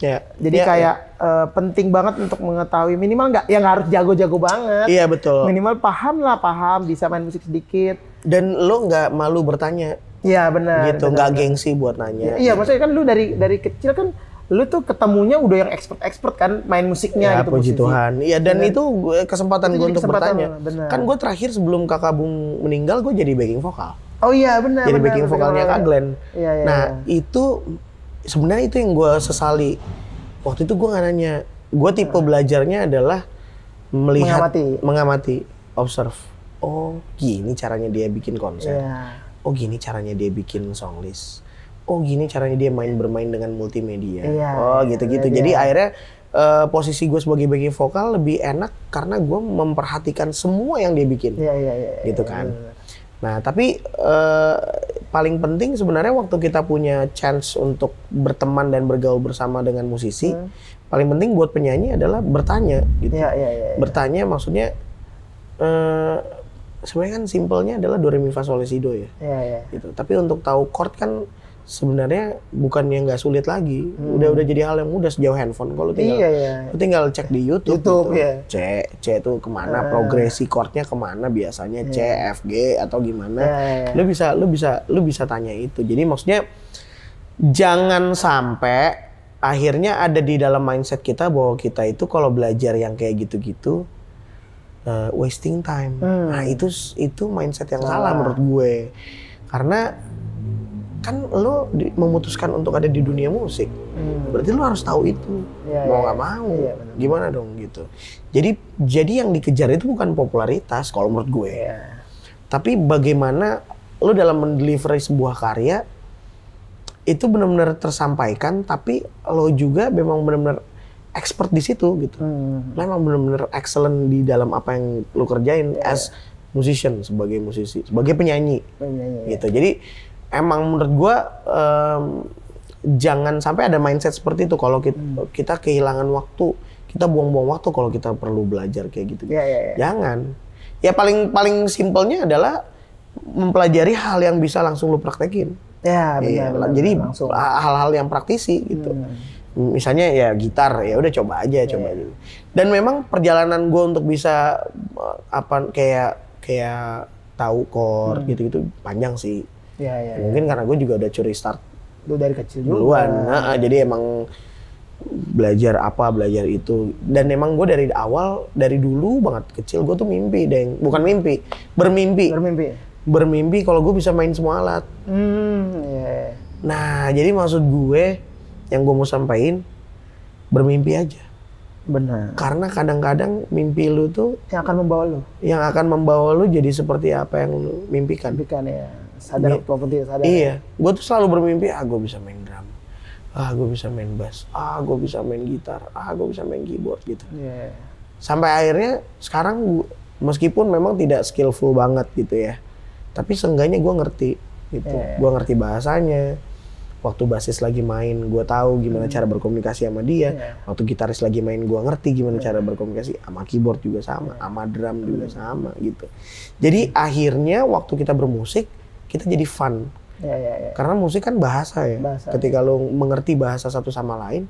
S1: Ya.
S2: Jadi
S1: Ya,
S2: kayak eh, penting banget untuk mengetahui minimal nggak yang harus jago-jago banget.
S1: Iya betul.
S2: Minimal paham lah, paham bisa main musik sedikit.
S1: Dan lo nggak malu bertanya
S2: Iya benar.
S1: gitu, nggak gengsi buat nanya.
S2: Iya, maksudnya kan lu dari dari kecil kan lu tuh ketemunya udah yang expert-expert kan main
S1: Ya,
S2: musiknya gitu.
S1: puji
S2: musisi.
S1: Tuhan. Iya dan itu gue- kesempatan
S2: Itu
S1: gue
S2: jadi
S1: untuk
S2: kesempatan
S1: bertanya.
S2: lo, benar.
S1: Kan gue terakhir sebelum kakak Bung meninggal gue jadi backing vokal.
S2: Oh iya benar.
S1: jadi
S2: benar,
S1: backing
S2: benar,
S1: vokalnya
S2: benar.
S1: Kak Glenn.
S2: Iya iya.
S1: nah
S2: iya.
S1: itu sebenarnya itu yang gue sesali. Waktu itu gue nggak nanya. Gue tipe belajarnya adalah melihat,
S2: Mengamati.
S1: mengamati, observe. Oh gini caranya dia bikin konser.
S2: Iya.
S1: oh gini caranya dia bikin song list oh gini caranya dia main bermain dengan multimedia
S2: Iya,
S1: oh
S2: iya,
S1: gitu-gitu
S2: iya,
S1: jadi
S2: iya.
S1: akhirnya eh, posisi gue sebagai backing vokal lebih enak karena gue memperhatikan semua yang dia bikin
S2: Iya iya iya. iya,
S1: gitu
S2: iya,
S1: kan.
S2: iya, iya.
S1: Nah, tapi eh, paling penting sebenarnya waktu kita punya chance untuk berteman dan bergaul bersama dengan musisi, paling penting buat penyanyi adalah bertanya gitu.
S2: Hmm. Iya iya iya. iya.
S1: Bertanya maksudnya eh sebenarnya kan simpelnya adalah do re mi fa sol la si do ya
S2: Iya iya.
S1: gitu. Tapi untuk tahu chord kan sebenarnya bukan yang nggak sulit lagi. Udah udah jadi hal yang mudah sejauh handphone. Kalau tinggal
S2: Hmm. Iya iya.
S1: lu tinggal cek di YouTube,
S2: YouTube,
S1: gitu.
S2: iya. Ah.
S1: C C itu kemana progresi chordnya kemana biasanya C F G atau gimana.
S2: Iya, iya, iya.
S1: Nah, Lu bisa lu bisa lu bisa tanya itu. Jadi maksudnya jangan sampai akhirnya ada di dalam mindset kita bahwa kita itu kalau belajar yang kayak gitu-gitu uh, wasting time.
S2: Hmm.
S1: Nah, itu itu mindset yang salah. menurut gue. Karena kan lo di- memutuskan untuk ada di dunia musik.
S2: Hmm.
S1: Berarti lo harus tahu itu.
S2: Iya,
S1: mau
S2: iya,
S1: nggak mau.
S2: Iya, benar.
S1: Gimana dong gitu. Jadi jadi yang dikejar itu bukan popularitas kalau menurut gue.
S2: Iya.
S1: Tapi bagaimana lo dalam mendelivery sebuah karya itu benar-benar tersampaikan tapi lo juga memang benar-benar expert di situ gitu
S2: Hmm.
S1: lo emang bener-bener excellent di dalam apa yang lo kerjain as musician sebagai musisi sebagai penyanyi
S2: Iya iya. iya.
S1: gitu jadi emang menurut gua em, jangan sampai ada mindset seperti itu kalau kita, kita kehilangan waktu kita buang-buang waktu kalau kita perlu belajar kayak gitu
S2: Iya iya. iya.
S1: jangan ya paling paling simpelnya adalah mempelajari hal yang bisa langsung lo praktekin Iya,
S2: Iya benar. benar, Hmm.
S1: jadi
S2: langsung. Iya.
S1: hal-hal yang praktisi gitu. Misalnya ya gitar ya udah coba aja coba aja. Dan memang perjalanan gue untuk bisa eh, apa kayak kayak tahu chord gitu-gitu panjang sih.
S2: Iya Hmm. iya. iya.
S1: Mungkin karena gue juga udah curi start
S2: Lu dari kecil juga.
S1: duluan. Nah, jadi emang belajar apa belajar itu dan emang gue dari awal dari dulu banget kecil gue tuh mimpi deng bukan mimpi bermimpi
S2: Bermimpi.
S1: bermimpi kalau gue bisa main semua alat
S2: Hmm. Iya. iya.
S1: Nah, jadi maksud gue yang gue mau sampaikan bermimpi aja.
S2: Benar.
S1: Karena kadang-kadang mimpi lu tuh
S2: Yang akan membawa lo.
S1: yang akan membawa lu jadi seperti apa yang lu mimpikan.
S2: Bukan ya. Sadar
S1: Iya.
S2: atau penting sadar.
S1: Iya, gue tuh selalu bermimpi, ah gue bisa main drum, ah gue bisa main bass, ah gue bisa main gitar, ah gue bisa main keyboard gitu.
S2: Iya.
S1: Sampai akhirnya sekarang gua- meskipun memang tidak skillful banget gitu ya, tapi seenggaknya gue ngerti gitu,
S2: Iya.
S1: gue ngerti bahasanya. Waktu bassist lagi main, gue tahu gimana cara berkomunikasi sama dia.
S2: Hmm. Iya.
S1: Waktu gitaris lagi main, gue ngerti gimana cara berkomunikasi sama keyboard juga sama,
S2: Iya.
S1: sama drum
S2: Hmm.
S1: juga sama gitu. Jadi akhirnya waktu kita bermusik, kita jadi fun
S2: Iya, iya, iya.
S1: karena musik kan bahasa ya.
S2: Bahasa.
S1: Ketika lo mengerti bahasa satu sama lain,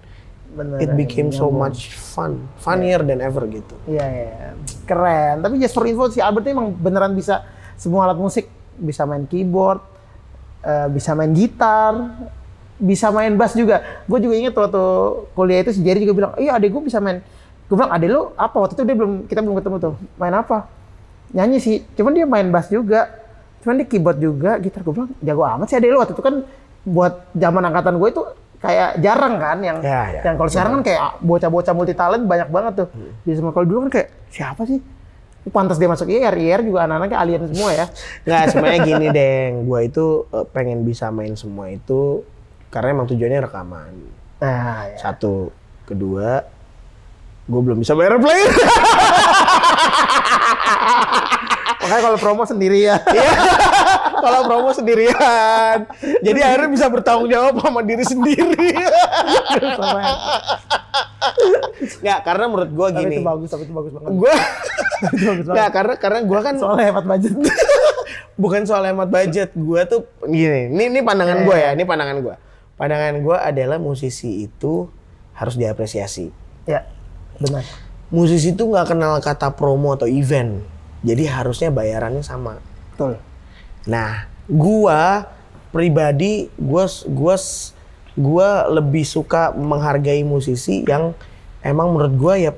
S2: Benar. iya.
S1: it became so
S2: Nyambung.
S1: much fun, funnier than ever gitu.
S2: Iya, iya. Keren. Tapi just for info, si Albert ini emang beneran bisa semua alat musik. Bisa main keyboard, eh, bisa main gitar, bisa main bass juga. Gue juga inget waktu kuliah itu si Jerry juga bilang, iya adek gue bisa main. Gue bilang, adek lu apa? Waktu itu dia belum, kita belum ketemu tuh. Main apa? Nyanyi sih. Cuman dia main bass juga. Cuman dia keyboard juga, gitar. Gue bilang, jago amat sih adek lu. Waktu itu kan buat zaman angkatan gue itu kayak jarang kan yang
S1: Ya, ya.
S2: yang kalau sekarang kan kayak bocah-bocah multi talent banyak banget tuh.
S1: Iya.
S2: Di zaman kalau dulu kan kayak siapa sih? Oh, Pantas dia masuk IR, IR juga anak-anaknya alien semua ya.
S1: Nggak, sebenarnya gini deng, gue itu eh, pengen bisa main semua itu karena emang tujuannya rekaman.
S2: Nah, ya.
S1: Satu, kedua, gue belum bisa bayar player.
S2: makanya kalau promo sendiri ya.
S1: Iya. Kalau promo sendirian, jadi akhirnya bisa bertanggung jawab sama diri sendiri. Nggak, karena menurut gue
S2: ya. tapi
S1: gini,
S2: itu bagus, tapi itu bagus banget.
S1: gue
S2: Itu bagus
S1: nggak
S2: banget.
S1: karena karena gue kan
S2: Soalnya hemat budget.
S1: bukan soal hemat budget gue tuh gini ini ini pandangan gue ya ini pandangan gue pandangan gue adalah musisi itu harus diapresiasi
S2: ya, benar.
S1: musisi itu nggak kenal kata promo atau event jadi harusnya bayarannya sama
S2: Betul.
S1: nah gua pribadi gua gua gua lebih suka menghargai musisi yang emang menurut gua ya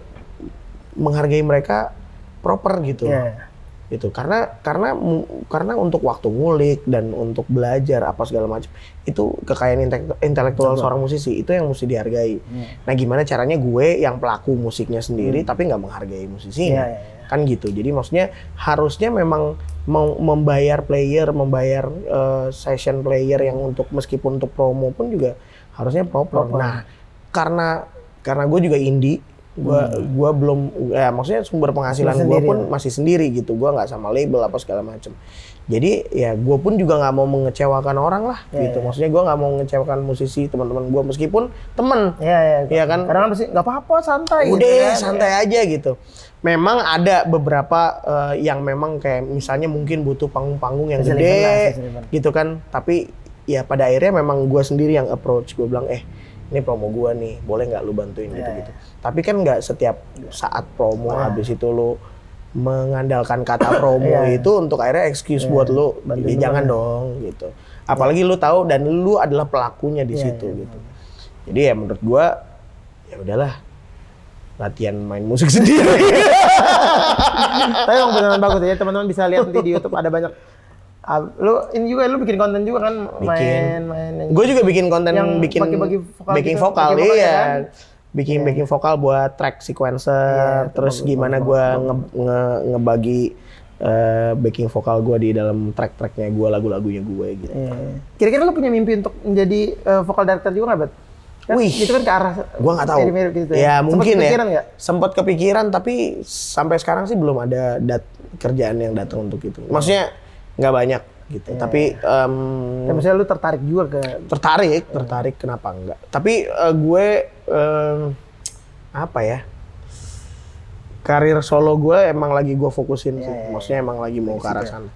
S1: menghargai mereka proper gitu
S2: Ya.
S1: gitu karena karena mu- karena untuk waktu ngulik dan untuk belajar apa segala macam itu kekayaan intek- intelektual seorang musisi itu yang mesti dihargai nah gimana caranya gue yang pelaku musiknya sendiri tapi nggak menghargai musisi
S2: Iya, iya,
S1: kan gitu jadi maksudnya harusnya memang mau membayar player membayar eh, session player yang untuk meskipun untuk promo pun juga harusnya proper
S2: Proper.
S1: nah karena karena gue juga indie gue gua belum ya maksudnya sumber penghasilan gue
S2: Lu Hmm. sendiri
S1: pun
S2: ya?
S1: masih sendiri gitu gue nggak sama label apa segala macem jadi ya gue pun juga nggak mau mengecewakan orang lah
S2: Ya,
S1: gitu
S2: ya.
S1: maksudnya gue nggak mau mengecewakan musisi teman-teman gue meskipun temen
S2: Iya, iya.
S1: Iya kan?
S2: Kadang kan pasti nggak apa-apa, santai.
S1: udah
S2: gitu kan.
S1: santai aja gitu memang ada beberapa eh, yang memang kayak misalnya mungkin butuh panggung-panggung yang
S2: Bisa
S1: gede
S2: dibelah, bisa dibelah.
S1: gitu kan tapi ya pada akhirnya memang gue sendiri yang approach gue bilang eh ini promo gue nih boleh nggak lu bantuin
S2: Iya,
S1: gitu gitu tapi kan nggak setiap saat promo
S2: Nah.
S1: habis itu lu mengandalkan kata promo
S2: Iya.
S1: itu untuk akhirnya excuse
S2: Iya,
S1: buat lu
S2: bantuin
S1: "Ih,
S2: lu
S1: jangan
S2: banget."
S1: dong gitu apalagi lu tahu dan lu adalah pelakunya di
S2: Iya,
S1: situ
S2: iya,
S1: gitu jadi ya menurut gue ya udahlah latihan main musik sendiri
S2: iya. Tapi emang beneran bagus ya teman-teman bisa lihat nanti di YouTube ada banyak. Ah, lu ini juga lu bikin konten juga kan main main.
S1: gue juga bikin konten
S2: Yang
S1: bikin
S2: bagi-bagi vokal
S1: backing
S2: gitu,
S1: vokal
S2: bagi
S1: iya
S2: vokal ya kan?
S1: bikin backing vokal buat track
S2: Iya,
S1: sequencer
S2: itu
S1: terus
S2: bagus,
S1: gimana
S2: bagus,
S1: gue nge, nge- ngebagi eh, backing vokal gue di dalam track-tracknya gue lagu-lagunya gue gitu
S2: Iya. Kira-kira lu punya mimpi untuk menjadi eh, vokal director juga nggak, Bet? Kan
S1: Wih.
S2: Itu kan ke arah
S1: gue nggak tahu
S2: mirip-mirip gitu
S1: ya
S2: Sempat
S1: mungkin ya
S2: kepikiran nggak?
S1: sempat kepikiran tapi sampai sekarang sih belum ada dat kerjaan yang datang untuk itu maksudnya nggak banyak gitu
S2: Iya,
S1: tapi em, Hmm.
S2: Ya, maksudnya lu tertarik juga ke
S1: tertarik tertarik kenapa enggak tapi eh, gue em, apa ya karir solo gue emang lagi gue
S2: Iya,
S1: fokusin sih maksudnya emang lagi mau ke arah sana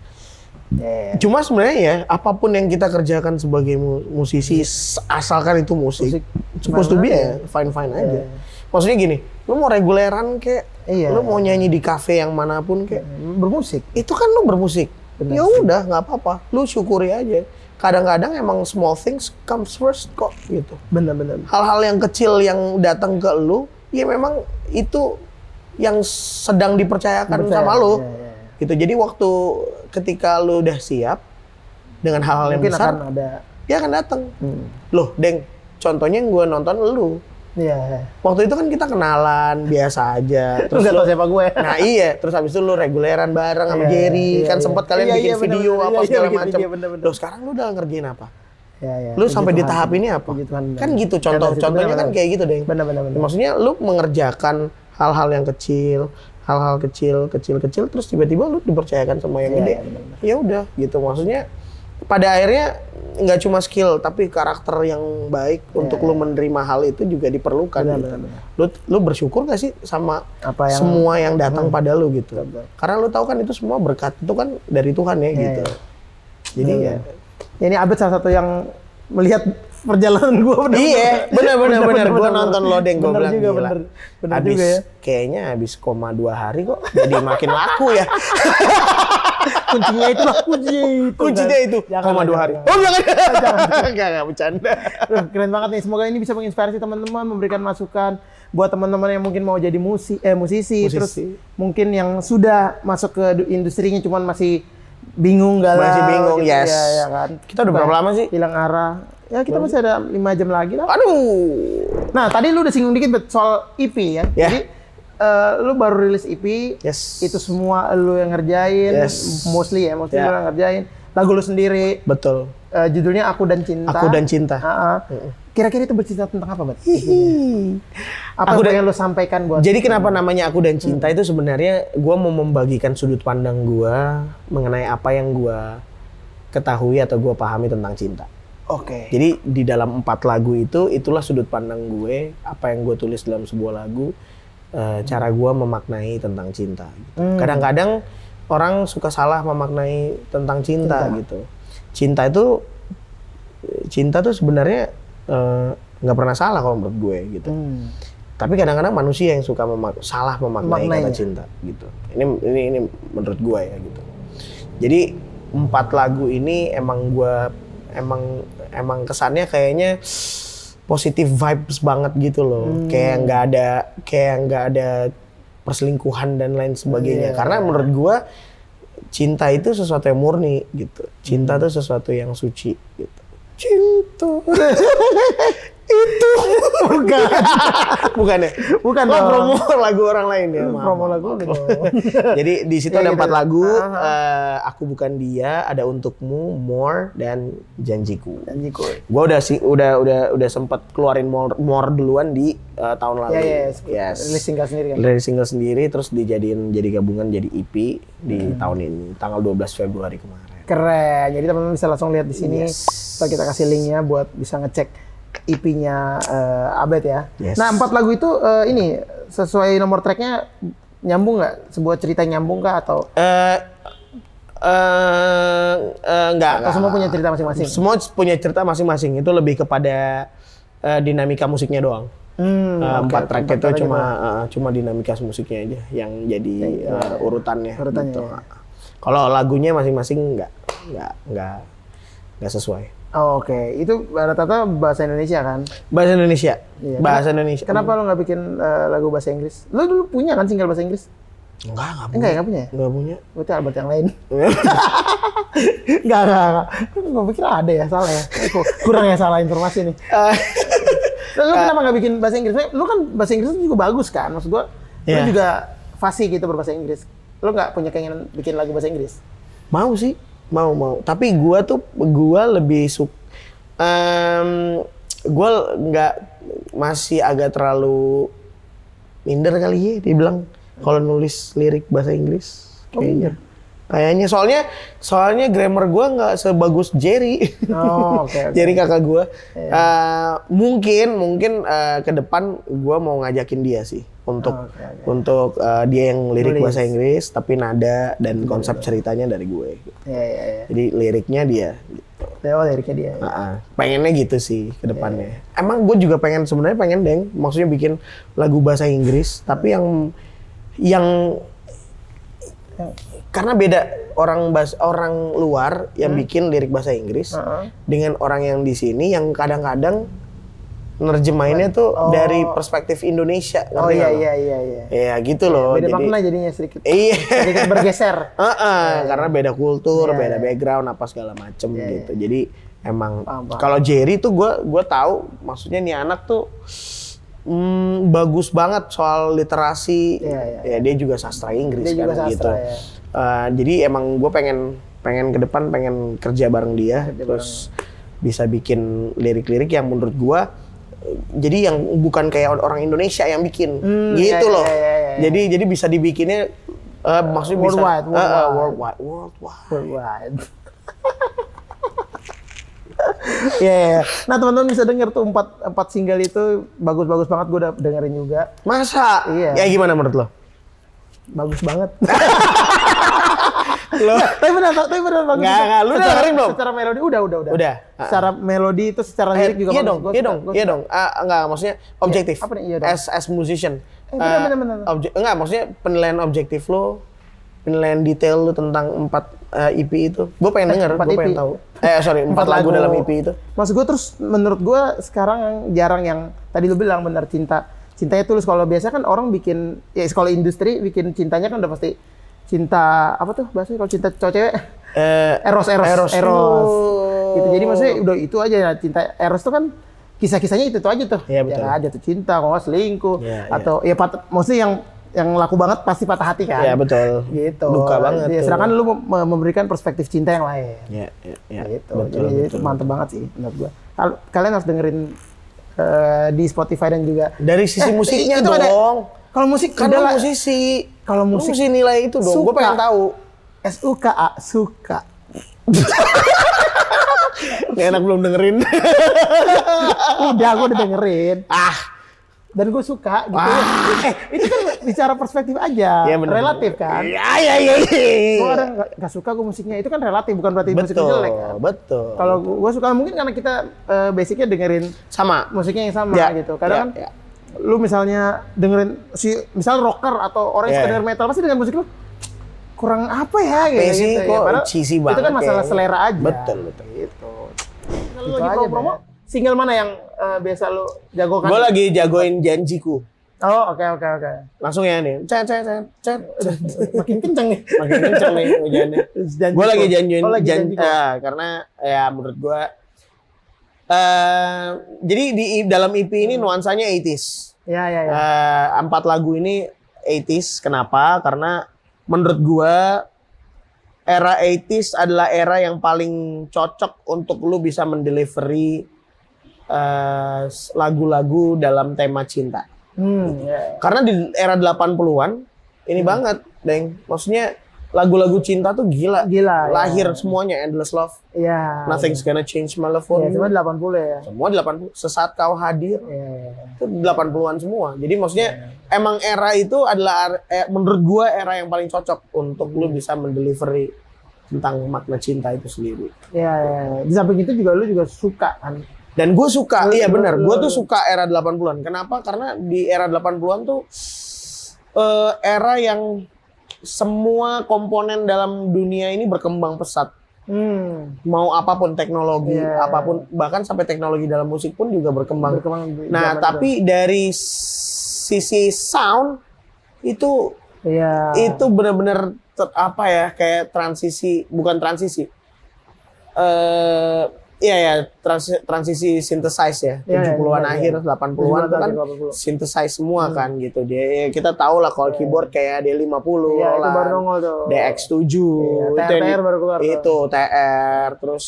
S2: ya,
S1: cuma sebenarnya ya apapun yang kita kerjakan sebagai mu- musisi s- asalkan itu musik,
S2: Iya. Musik.
S1: supposed to be
S2: Fine-fine
S1: ya fine fine aja maksudnya gini lu mau reguleran kek
S2: Iya.
S1: lu mau nyanyi di kafe yang manapun kek
S2: bermusik.
S1: itu kan lu bermusik. Ya udah nggak apa-apa, lu syukuri aja. Kadang-kadang emang small things comes first kok gitu.
S2: Bener-bener.
S1: Hal-hal yang kecil yang datang ke lu, ya memang itu yang sedang dipercayakan Kan
S2: Dipercaya,
S1: sama lu.
S2: iya, iya.
S1: Gitu. Jadi waktu ketika lu udah siap dengan hal-hal yang
S2: Mungkin
S1: besar, Hmm.
S2: akan ada
S1: dia akan datang. Loh, Deng, contohnya yang gue nonton lu.
S2: Iya.
S1: Waktu itu kan kita kenalan biasa aja.
S2: Terus gak tau
S1: lu-
S2: siapa gue.
S1: Nah iya, terus habis itu lu reguleran bareng sama
S2: Iya,
S1: Jerry,
S2: iya,
S1: kan
S2: iya.
S1: sempet kalian
S2: Iya,
S1: bikin
S2: iya, bener-bener.
S1: video apa
S2: Iya, iya,
S1: segala
S2: bikin
S1: macam.
S2: video, bener-bener.
S1: Loh sekarang lu udah ngerjain apa?
S2: Ya, ya.
S1: Lu
S2: Puji
S1: sampai di
S2: Tuhan.
S1: tahap ini apa?
S2: Puji Tuhan, bener.
S1: Kan gitu
S2: Karena
S1: contoh,
S2: situ
S1: contohnya kan
S2: bener-bener.
S1: kayak gitu deh.
S2: Bener bener bener.
S1: Maksudnya lu mengerjakan hal-hal yang kecil, hal-hal kecil, kecil-kecil, terus tiba-tiba lu dipercayakan sama yang
S2: Iya,
S1: gede. Ya udah gitu, maksudnya pada akhirnya nggak cuma skill tapi karakter yang baik
S2: Iya,
S1: untuk lu menerima hal itu juga diperlukan
S2: Benar,
S1: gitu.
S2: benar, benar.
S1: Lu lu bersyukur gak sih sama
S2: Apa yang- Hmm.
S1: semua yang datang pada lu gitu.
S2: benar.
S1: Karena lu tahu kan itu semua berkat itu kan dari Tuhan ya gitu.
S2: iya.
S1: Jadi
S2: Benar,
S1: ya-
S2: Ya, ini Abed salah satu yang melihat perjalanan gue bener
S1: Iya, bener bener bener. Gue nonton lo deng, gue
S2: Bener
S1: bilang
S2: juga,
S1: gila.
S2: bener. Bener
S1: abis,
S2: juga ya.
S1: Kayaknya abis koma dua hari kok jadi makin laku ya.
S2: kuncinya itu lah kuncinya itu
S1: Kuncinya
S2: kan.
S1: itu
S2: Jangan,
S1: koma dua
S2: jangan,
S1: hari.
S2: jangan.
S1: Oh jangan, jangan, nggak bercanda.
S2: Aduh, keren banget nih. Semoga ini bisa menginspirasi teman-teman, memberikan masukan buat teman-teman yang mungkin mau jadi musi eh
S1: Musisi.
S2: musisi, terus mungkin yang sudah masuk ke du- industrinya cuman masih bingung galau.
S1: Masih bingung,
S2: gitu.
S1: yes.
S2: Ya, ya kan.
S1: Kita udah berapa lama sih? Ah.
S2: Hilang arah. Ya kita masih ada lima jam lagi lah.
S1: Aduh.
S2: Nah, tadi lu udah singgung dikit Bet, soal EP ya.
S1: Ya.
S2: Jadi eh, lu baru rilis EP,
S1: Yes.
S2: itu semua lu yang ngerjain,
S1: Yes.
S2: mostly ya, mostly
S1: Ya.
S2: lu yang ngerjain. Lagu lu sendiri,
S1: Betul.
S2: eh, judulnya Aku dan Cinta.
S1: Aku dan cinta.
S2: Ah, ah. Kira-kira itu bercerita tentang apa, Bat?
S1: Hihi.
S2: Apa
S1: Aku
S2: yang
S1: dan-
S2: pengen lo sampaikan buat
S1: Jadi kenapa namanya aku dan cinta itu sebenarnya gua mau membagikan sudut pandang gua mengenai apa yang gua ketahui atau gua pahami tentang cinta.
S2: Oke.
S1: Jadi di dalam empat lagu itu itulah sudut pandang gue, apa yang gue tulis dalam sebuah lagu, eh, cara gue memaknai tentang cinta. gitu. Kadang-kadang orang suka salah memaknai tentang cinta, gitu. Cinta itu cinta tuh sebenarnya eh, nggak pernah salah kalau menurut gue gitu.
S2: Hmm.
S1: Tapi kadang-kadang manusia yang suka memak- salah memaknai kata
S2: Memaknainya.
S1: cinta gitu. Ini ini ini menurut gua ya gitu. Jadi empat lagu ini emang gua emang emang kesannya kayaknya positif vibes banget gitu loh. Kayak nggak ada kayak nggak ada perselingkuhan dan lain sebagainya. Karena menurut gua cinta itu sesuatu yang murni gitu. Cinta
S2: Hmm.
S1: itu sesuatu yang suci gitu. Cinta itu bukan bukan ya
S2: Bukan
S1: lo
S2: dong.
S1: promo lagu orang lain ya maaf,
S2: Promo
S1: maaf,
S2: lagu
S1: maaf.
S2: gitu.
S1: jadi di situ
S2: Iya,
S1: ada
S2: gitu.
S1: empat lagu
S2: Aha.
S1: eh, aku bukan dia ada untukmu more dan janjiku
S2: Janji gue.
S1: gue udah sih udah udah udah sempat keluarin more, more duluan di eh, tahun lalu
S2: Ya ya. ya.
S1: yes
S2: Rilis single sendiri kan.
S1: dari single sendiri terus dijadiin jadi gabungan jadi EP di tahun ini tanggal 12 Februari kemarin
S2: Keren. Jadi teman-teman bisa langsung lihat di sini.
S1: Yes.
S2: Ntar kita kasih linknya buat bisa ngecek EP-nya eh, Abed ya.
S1: Yes.
S2: Nah empat lagu itu eh, ini sesuai nomor tracknya nyambung nggak? Sebuah cerita yang nyambung kah atau
S1: eh eh eh, enggak,
S2: atau
S1: enggak.
S2: semua punya cerita masing-masing?
S1: Semua punya cerita masing-masing. Itu lebih kepada eh, dinamika musiknya doang.
S2: Hmm,
S1: Eh,
S2: oke,
S1: empat track itu
S2: tracknya
S1: cuma eh, cuma dinamika musiknya aja yang jadi eh, urutannya.
S2: Urutannya,
S1: gitu.
S2: ya.
S1: Kalau lagunya masing-masing nggak nggak nggak nggak sesuai.
S2: Oh, Oke, itu rata-rata bahasa Indonesia kan?
S1: Bahasa Indonesia.
S2: Iya,
S1: Bahasa Indonesia.
S2: Kenapa lo nggak bikin eh, lagu bahasa Inggris? Lo dulu punya kan single bahasa Inggris?
S1: Enggak, enggak punya.
S2: Enggak ya, nggak punya ya?
S1: Enggak punya.
S2: Berarti Albert yang lain. Enggak, enggak, enggak. Gue pikir ada ya, salah ya. Aku kurang ya salah informasi nih. Eh.
S1: Eh,
S2: Lo, kenapa nggak bikin bahasa Inggris? Lo kan bahasa Inggris lu juga bagus kan? Maksud gua, lo
S1: Iya.
S2: juga fasih gitu berbahasa Inggris. Lo nggak punya keinginan bikin lagu bahasa Inggris?
S1: Mau sih, mau mau. Tapi gua tuh gua lebih suk Em, gua nggak masih agak terlalu minder kali ya dibilang kalau nulis lirik bahasa Inggris kayaknya. Kayaknya soalnya soalnya grammar gua nggak sebagus Jerry.
S2: Oh, oke. oke. Iya.
S1: Jerry kakak gua. Eh, mungkin mungkin eh, ke depan gua mau ngajakin dia sih untuk
S2: Oh, Oke, oke.
S1: untuk eh, dia yang lirik
S2: Nulis.
S1: bahasa Inggris tapi nada dan konsep ceritanya dari gue.
S2: Iya, iya, iya.
S1: Jadi liriknya dia. gitu.
S2: Dewa liriknya dia.
S1: Ah, ah. Pengennya gitu sih ke
S2: Iya,
S1: depannya. Emang gue juga pengen sebenarnya pengen deng, maksudnya bikin lagu bahasa Inggris, tapi yang yang
S2: Ya.
S1: karena beda orang bahas, orang luar yang
S2: Hmm.
S1: bikin lirik bahasa Inggris
S2: Heeh.
S1: dengan orang yang di sini yang kadang-kadang nerjemahinnya tuh
S2: Oh.
S1: dari perspektif Indonesia.
S2: Oh
S1: ngerti
S2: iya,
S1: nggak lo?
S2: iya, iya, iya.
S1: Iya gitu loh.
S2: Beda
S1: jadi-
S2: makna jadinya sedikit.
S1: Iya.
S2: Sedikit bergeser.
S1: Heeh, karena beda kultur,
S2: Iya,
S1: beda
S2: iya.
S1: background apa segala macem gitu. Jadi Emang
S2: Paham, paham.
S1: kalau Jerry tuh gue gue tahu maksudnya nih anak tuh mm, bagus banget soal literasi.
S2: Iya,
S1: Ya,
S2: iya,
S1: dia juga sastra Inggris
S2: Dia
S1: kan
S2: juga sastra,
S1: gitu.
S2: ya.
S1: Eh, jadi emang gue pengen pengen ke depan pengen kerja bareng dia terus bisa bikin lirik-lirik yang menurut gue jadi yang bukan kayak orang Indonesia yang bikin
S2: Hmm,
S1: gitu
S2: iya, iya,
S1: loh.
S2: iya, iya.
S1: Jadi jadi bisa dibikinnya eh, maksudnya bisa-
S2: worldwide,
S1: Eh, eh,
S2: worldwide.
S1: worldwide, worldwide.
S2: Worldwide.
S1: Iya,
S2: Ya, ya. nah teman-teman bisa denger tuh empat empat single itu bagus-bagus banget gue udah dengerin juga,
S1: Masa?
S2: Iya.
S1: Ya gimana menurut lo?
S2: bagus banget.
S1: Lo
S2: tapi benar, tapi benar bagus.
S1: Nggak, nggak. Lu udah
S2: Secara-
S1: dengerin belum?
S2: Secara melodi udah, udah, udah.
S1: Udah.
S2: Secara melodi itu secara lirik juga
S1: iya
S2: bagus.
S1: dong,
S2: Gua
S1: iya
S2: suka,
S1: dong,
S2: gua
S1: iya
S2: suka.
S1: dong. Ah, enggak, maksudnya objektif.
S2: Apa nih iya dong?
S1: As as musician.
S2: Eh, bener,
S1: Eh,
S2: bener, bener.
S1: obje- enggak, maksudnya penilaian objektif lo, penilaian detail lo tentang empat eh, EP itu. Gue pengen denger,
S2: empat
S1: gue pengen
S2: EP.
S1: tahu. Eh, sorry, empat, lagu, dalam EP itu.
S2: Maksud gue terus menurut gue sekarang yang jarang yang tadi lu bilang benar cinta. Cintanya tulus kalau biasa kan orang bikin ya kalau industri bikin cintanya kan udah pasti cinta apa tuh bahasanya kalau cinta cowok cewek
S1: Eh,
S2: eros eros
S1: Eros.
S2: eros.
S1: Oh.
S2: Gitu. Jadi maksudnya udah itu aja ya cinta eros tuh kan kisah-kisahnya itu tuh aja tuh.
S1: Iya, betul.
S2: Ya kan, jatuh cinta, kalau nggak selingkuh
S1: Iya, iya.
S2: atau ya pat, maksudnya yang yang laku banget pasti patah hati kan.
S1: ya betul.
S2: Gitu.
S1: Duka banget.
S2: Ya,
S1: tuh.
S2: sedangkan lu mem- memberikan perspektif cinta yang lain
S1: Ya, ya, ya.
S2: gitu.
S1: Betul,
S2: Jadi
S1: betul.
S2: itu mantep banget sih menurut gua. Kal- Kalian harus dengerin eh, di Spotify dan juga
S1: Dari sisi
S2: Eh,
S1: musiknya
S2: itu
S1: dong.
S2: ada- Kalau musik
S1: Kan
S2: udah
S1: lo
S2: lah.
S1: musisi.
S2: Kalau
S1: Lo
S2: musik-
S1: mesti nilai itu dong. Gue
S2: Suka.
S1: pengen tahu.
S2: SUKA suka.
S1: Ini anak belum dengerin.
S2: Udah gua udah dengerin
S1: ah,
S2: dan gue suka gitu. Eh, itu kan bicara perspektif aja,
S1: Iya, bener.
S2: relatif kan.
S1: ya ya ya. ya.
S2: Gua orang nggak- nggak suka gue musiknya itu kan relatif bukan berarti musik
S1: Betul,
S2: musiknya jelek kan.
S1: betul.
S2: Kalau gue suka mungkin karena kita eh, basicnya dengerin
S1: sama
S2: musiknya yang sama
S1: Ya,
S2: gitu. Karena
S1: ya,
S2: kan lu misalnya dengerin si misal rocker atau orang yang
S1: Ya.
S2: suka denger metal pasti dengan musik lu kurang apa ya gitu.
S1: Apa sih,
S2: gitu.
S1: kok
S2: padahal
S1: cheesy
S2: Itu
S1: banget
S2: kan masalah
S1: kayaknya.
S2: selera aja.
S1: Betul, betul.
S2: Gitu.
S1: Lu
S2: Gitu
S1: lagi
S2: aja,
S1: promo-promo?
S2: Bang. Single mana yang eh, biasa lu jagokan?
S1: Gue lagi jagoin janjiku.
S2: Oh, oke oke oke.
S1: Langsung ya nih. Cet cet cet cet. cet.
S2: Makin kenceng nih.
S1: Makin kenceng nih hujannya.
S2: Janji
S1: Gue lagi
S2: kok.
S1: janjiin
S2: Oh, lagi
S1: jan-
S2: janji kok.
S1: ah, karena ya menurut gue eh jadi di dalam EP
S2: Hmm.
S1: ini nuansanya 80s.
S2: Ya ya ya.
S1: Eh, empat lagu ini 80s. Kenapa? Karena menurut gua era 80s adalah era yang paling cocok untuk lu bisa mendelivery eh, s- lagu-lagu dalam tema cinta.
S2: Hmm, ya.
S1: Karena di era 80-an ini
S2: Hmm.
S1: banget, Deng. Maksudnya lagu-lagu cinta tuh gila.
S2: Gila, ya.
S1: Lahir semuanya Endless Love,
S2: Ya.
S1: Nothing's Gonna Change My Love for
S2: Ya,
S1: You.
S2: cuma 80 ya.
S1: Semua 80 sesaat kau hadir
S2: Ya, ya, ya.
S1: itu 80-an semua. Jadi maksudnya emang era itu adalah eh, menurut gua era yang paling cocok untuk lu bisa mendelivery tentang makna cinta itu sendiri.
S2: Ya, ya, ya. Di samping itu juga lu juga suka kan.
S1: Dan gue suka,
S2: Lu-
S1: iya
S2: lu-
S1: benar.
S2: lu-
S1: Gue
S2: lu-
S1: tuh suka era 80-an. Kenapa? Karena di era 80-an tuh eh, era yang semua komponen dalam dunia ini berkembang pesat.
S2: Hmm.
S1: Mau apapun teknologi,
S2: Iya.
S1: apapun bahkan sampai teknologi dalam musik pun juga berkembang
S2: Berkembang di zaman
S1: Nah,
S2: itu.
S1: tapi dari sisi sound itu
S2: Iya.
S1: itu benar-benar ter- apa ya kayak transisi bukan transisi. Eh iya ya trans- transisi synthesize ya.
S2: Iya, iya,
S1: 70-an
S2: iya,
S1: akhir 80-an itu
S2: 70-an,
S1: kan
S2: 80-an.
S1: synthesize
S2: Hmm.
S1: semua kan gitu. Dia kita tahu lah kalau keyboard kayak D50
S2: Iya, itu
S1: Roland,
S2: baru nongol tuh.
S1: DX7
S2: Iya,
S1: itu yang di-
S2: TR baru keluar tuh.
S1: itu TR terus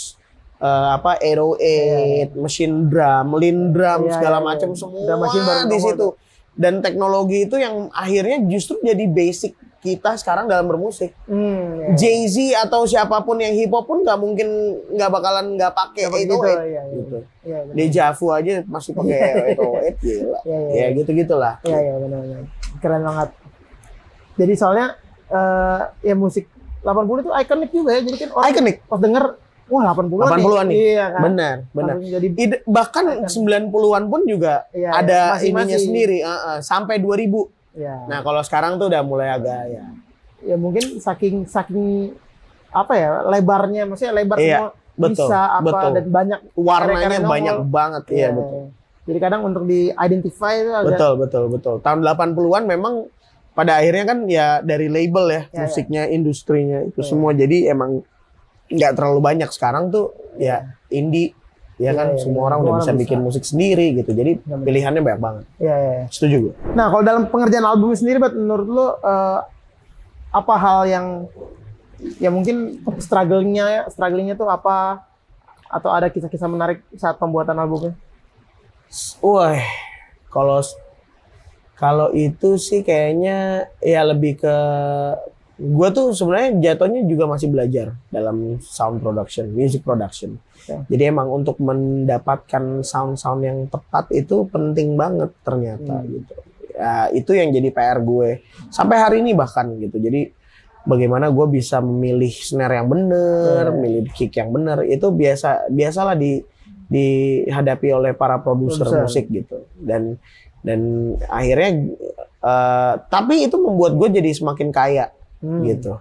S1: eh, apa 808 mesin drum, lin drum
S2: Iya,
S1: segala
S2: iya, iya.
S1: macam semua
S2: Drum machine baru
S1: di
S2: nongol
S1: situ. Dan teknologi itu yang akhirnya justru jadi basic kita sekarang dalam bermusik.
S2: Hmm, iya.
S1: Jay-Z atau siapapun yang hip hop pun nggak mungkin nggak bakalan nggak pakai
S2: Dapat
S1: itu
S2: gitu, iya, iya.
S1: gitu.
S2: Iya, benar.
S1: Deja Vu aja masih pakai itu gila.
S2: Iya, iya,
S1: Ya gitu-gitulah.
S2: Iya, iya, benar, benar. Keren banget. Jadi soalnya eh ya musik 80 itu ikonik juga ya. Jadi kan orang
S1: Iconic.
S2: pas denger wah 80
S1: 80-an nih.
S2: Iya kan.
S1: Benar, benar.
S2: Langsung jadi
S1: Ide- bahkan 90-an pun juga
S2: Iya,
S1: ada
S2: iya,
S1: ininya
S2: masing-masing.
S1: sendiri eh, eh, sampai 2000.
S2: ya.
S1: Nah, kalau sekarang tuh udah mulai agak ya.
S2: ya mungkin saking saking apa ya lebarnya maksudnya lebar
S1: Iya,
S2: semua
S1: betul,
S2: bisa apa
S1: betul.
S2: dan banyak
S1: Warnanya
S2: karya-karya nongol.
S1: banyak banget, iya betul.
S2: Jadi kadang untuk di identify itu agak
S1: Betul, betul, betul. Tahun 80-an memang pada akhirnya kan ya dari label ya,
S2: Iya,
S1: musiknya, industrinya itu semua. Jadi emang nggak terlalu banyak sekarang tuh ya indie ya
S2: Iya,
S1: kan
S2: iya,
S1: semua
S2: iya.
S1: orang
S2: Semua
S1: udah
S2: orang
S1: bisa
S2: bisa. Iya,
S1: bikin musik sendiri gitu. Jadi
S2: Benar.
S1: pilihannya banyak banget.
S2: Iya, iya, iya.
S1: Setuju gue.
S2: Nah, kalau dalam pengerjaan album sendiri, Bat, menurut lo eh, apa hal yang ya mungkin struggle-nya, struggle-nya tuh apa? Atau ada kisah-kisah menarik saat pembuatan albumnya?
S1: Wah, kalau kalau itu sih kayaknya ya lebih ke gue tuh sebenarnya jatuhnya juga masih belajar dalam sound production, music production.
S2: Oke.
S1: Jadi emang untuk mendapatkan sound-sound yang tepat itu penting banget ternyata gitu. Ya, itu yang jadi PR gue sampai hari ini bahkan gitu. Jadi bagaimana gue bisa memilih snare yang bener,
S2: Hmm.
S1: memilih kick yang bener itu biasa biasalah di dihadapi oleh para produser
S2: Produser.
S1: musik gitu dan dan akhirnya eh, tapi itu membuat gue jadi semakin kaya
S2: Hmm.
S1: gitu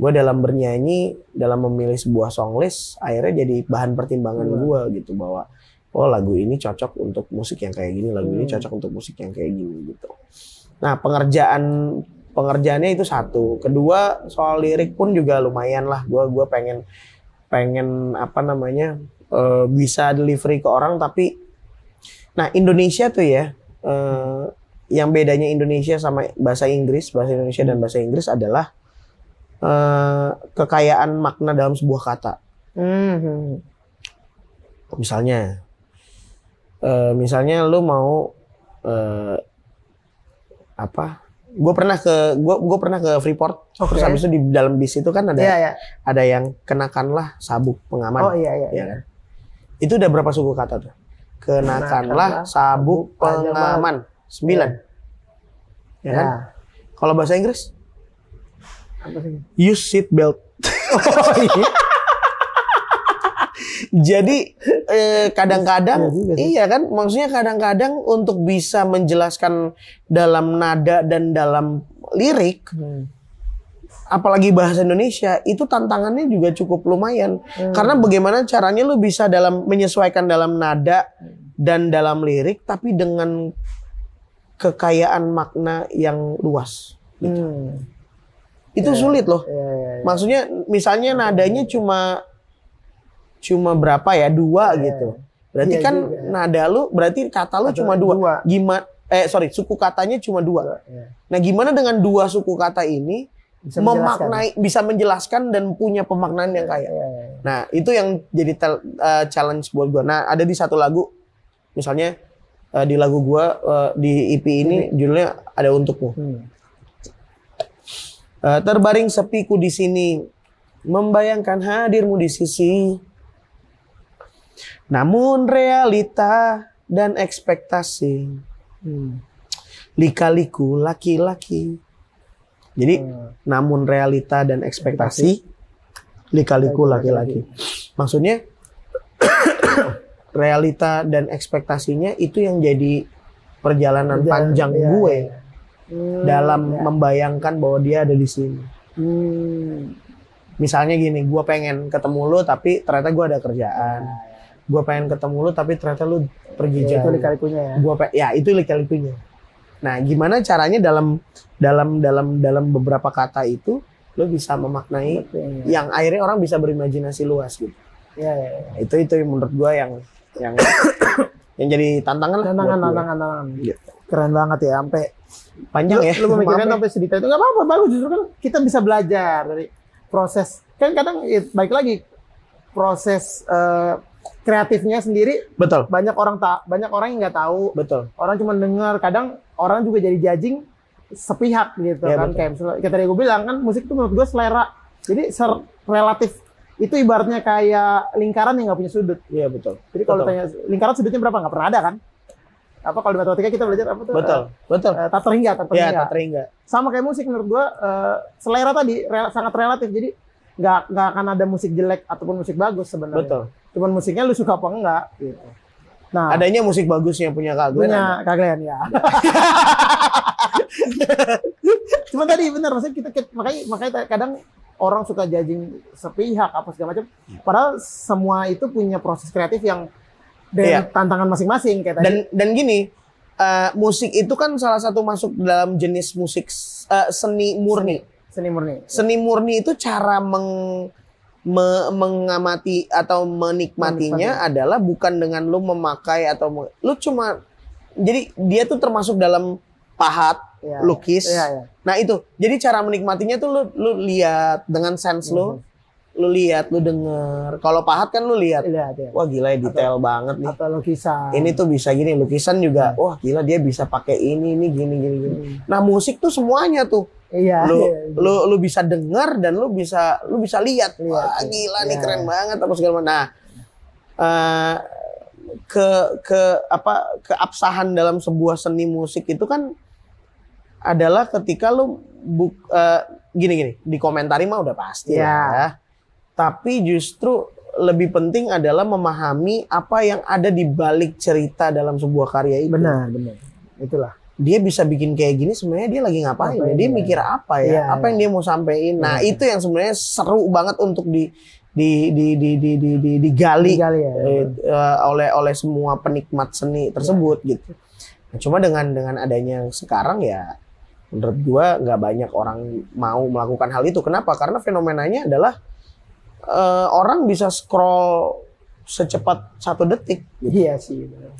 S1: gue dalam bernyanyi dalam memilih sebuah song list akhirnya jadi bahan pertimbangan
S2: Hmm.
S1: gue gitu bahwa oh lagu ini cocok untuk musik yang kayak gini lagu ini
S2: Hmm.
S1: cocok untuk musik yang kayak gini gitu nah pengerjaan pengerjaannya itu satu kedua soal lirik pun juga lumayan lah gue gue pengen pengen apa namanya eh, bisa delivery ke orang tapi nah Indonesia tuh ya eh, yang bedanya Indonesia sama bahasa Inggris bahasa Indonesia dan bahasa Inggris adalah eh, kekayaan makna dalam sebuah kata
S2: Hmm.
S1: misalnya eh, misalnya lu mau eh, apa gue pernah ke gue gue pernah ke Freeport
S2: Oke.
S1: terus habis itu di dalam bis itu kan ada
S2: Iya, iya.
S1: ada yang kenakanlah sabuk pengaman
S2: Oh, iya, iya.
S1: ya kan? Itu udah berapa suku kata tuh? Kenakanlah sabuk pengaman. Sembilan.
S2: Iya.
S1: Ya kan? Kalau bahasa Inggris,
S2: Apa sih?
S1: use seat belt.
S2: Oh, iya.
S1: Jadi eh, kadang-kadang
S2: Iya juga sih.
S1: iya kan maksudnya kadang-kadang untuk bisa menjelaskan dalam nada dan dalam lirik
S2: Hmm.
S1: apalagi bahasa Indonesia itu tantangannya juga cukup lumayan
S2: Hmm.
S1: karena bagaimana caranya lu bisa dalam menyesuaikan dalam nada dan dalam lirik tapi dengan kekayaan makna yang luas
S2: Hmm.
S1: itu sulit loh
S2: Iya, iya, iya.
S1: Gitu. maksudnya misalnya nadanya cuma cuma berapa ya dua gitu berarti
S2: Iya
S1: kan
S2: juga.
S1: nada lu berarti kata lu
S2: Kata
S1: cuma dua.
S2: dua.
S1: gimana eh sorry suku katanya cuma dua
S2: Iya.
S1: Nah, gimana dengan dua suku kata ini
S2: Bisa
S1: memaknai bisa menjelaskan dan punya pemaknaan yang kaya.
S2: Iya, iya, iya.
S1: Nah, itu yang jadi tel- eh, challenge buat gua. Nah, ada di satu lagu misalnya eh, di lagu gua eh, di EP ini judulnya ada untukmu.
S2: Hmm.
S1: Eh, terbaring sepiku di sini membayangkan hadirmu di sisi. Namun realita dan ekspektasi
S2: Hmm.
S1: lika-liku laki-laki. Jadi
S2: Hmm.
S1: namun realita dan ekspektasi lika-liku laki-laki. Maksudnya realita dan ekspektasinya itu yang jadi perjalanan
S2: Perjalanan,
S1: panjang
S2: iya,
S1: gue
S2: iya. Hmm,
S1: dalam
S2: iya.
S1: membayangkan bahwa dia ada di sini.
S2: Hmm.
S1: Misalnya gini, gue pengen ketemu lu tapi ternyata gue ada kerjaan.
S2: Ah, iya.
S1: Gue pengen ketemu lu tapi ternyata lu pergi
S2: Ya, itu
S1: jauh.
S2: lika-likunya ya.
S1: gua pe- ya itu lika-likunya. Nah, gimana caranya dalam dalam dalam dalam beberapa kata itu lo bisa memaknai
S2: Iya,
S1: yang akhirnya orang bisa berimajinasi luas gitu.
S2: iya, iya.
S1: Nah, itu itu yang menurut gua yang yang yang jadi tantangan lah
S2: Tantangan,
S1: buat gua.
S2: tantangan, tantangan.
S1: Iya.
S2: Keren banget ya, sampai
S1: Panjang
S2: lu,
S1: ya.
S2: lu
S1: maaf
S2: memikirkan
S1: ya.
S2: sampai sedetail itu nggak apa-apa, bagus justru kan kita bisa belajar dari proses. Kan kadang ya, baik lagi proses eh, kreatifnya sendiri
S1: Betul.
S2: banyak orang tak banyak orang yang nggak tahu,
S1: Betul.
S2: orang cuma dengar, kadang orang juga jadi judging sepihak gitu
S1: Iya,
S2: kan
S1: betul.
S2: kayak misalnya kayak tadi gue bilang kan musik itu menurut gue selera jadi ser relatif itu ibaratnya kayak lingkaran yang nggak punya sudut
S1: Iya, betul.
S2: Jadi kalau
S1: Betul.
S2: tanya lingkaran sudutnya berapa nggak pernah ada kan? Apa kalau di matematika kita belajar apa tuh?
S1: Betul. Betul.
S2: Eh, eh, tata hingga, tata
S1: Iya,
S2: hingga.
S1: tak terhingga.
S2: Sama kayak musik menurut gua eh, selera tadi rel- sangat relatif. Jadi nggak nggak akan ada musik jelek ataupun musik bagus sebenarnya.
S1: Betul.
S2: Cuman musiknya lu suka apa enggak gitu. Nah,
S1: Adanya musik bagus yang punya Kak Glenn,
S2: punya
S1: ada.
S2: Kak Glenn ya. Cuman tadi benar maksudnya kita, kita- makanya makanya ta- kadang orang suka judging sepihak apa segala macam. Padahal semua itu punya proses kreatif yang
S1: Iya.
S2: dan tantangan masing-masing kayak tadi.
S1: Dan dan gini, eh, musik itu kan salah satu masuk dalam jenis musik s- eh, seni murni.
S2: seni murni.
S1: Seni murni itu cara meng me- mengamati atau menikmatinya adalah bukan dengan lu memakai atau meng- lu cuma jadi dia tuh termasuk dalam pahat,
S2: Iya.
S1: lukis.
S2: Iya, iya.
S1: Nah, itu. Jadi cara menikmatinya tuh lu lu lihat dengan sense
S2: Mhm.
S1: lu. Lu lihat, lu denger. Kalau pahat kan lu lihat.
S2: Lihat ya.
S1: Wah, gila ya detail banget nih.
S2: Atau lukisan.
S1: Ini tuh bisa gini, lukisan juga. Wah, gila dia bisa pakai ini, ini gini gini gini. Nah, musik tuh semuanya tuh
S2: Iya.
S1: lu
S2: iya, iya.
S1: lu lu bisa dengar dan lu bisa lu bisa lihat wah
S2: Lihat,
S1: gila nih
S2: ya.
S1: keren banget apa segala macam nah eh, ke ke apa keabsahan dalam sebuah seni musik itu kan adalah ketika lu bu, eh, gini gini di komentari mah udah pasti
S2: Ya.
S1: lah ya tapi justru lebih penting adalah memahami apa yang ada di balik cerita dalam sebuah karya itu
S2: Benar, benar. Itulah.
S1: dia bisa bikin kayak gini sebenarnya dia lagi ngapain ya?
S2: Ngapain,
S1: Dia
S2: iya.
S1: mikir apa ya?
S2: Iya,
S1: apa
S2: iya.
S1: yang dia mau sampein? Nah, itu yang sebenarnya seru banget untuk di di di di di di, di- digali
S2: Tinggal ya.
S1: eh, eh, oleh oleh semua penikmat seni tersebut gitu. Nah, cuma dengan dengan adanya sekarang ya menurut gua nggak banyak orang mau melakukan hal itu. Kenapa? Karena fenomenanya adalah eh, orang bisa scroll secepat satu detik
S2: Iya sih. benar.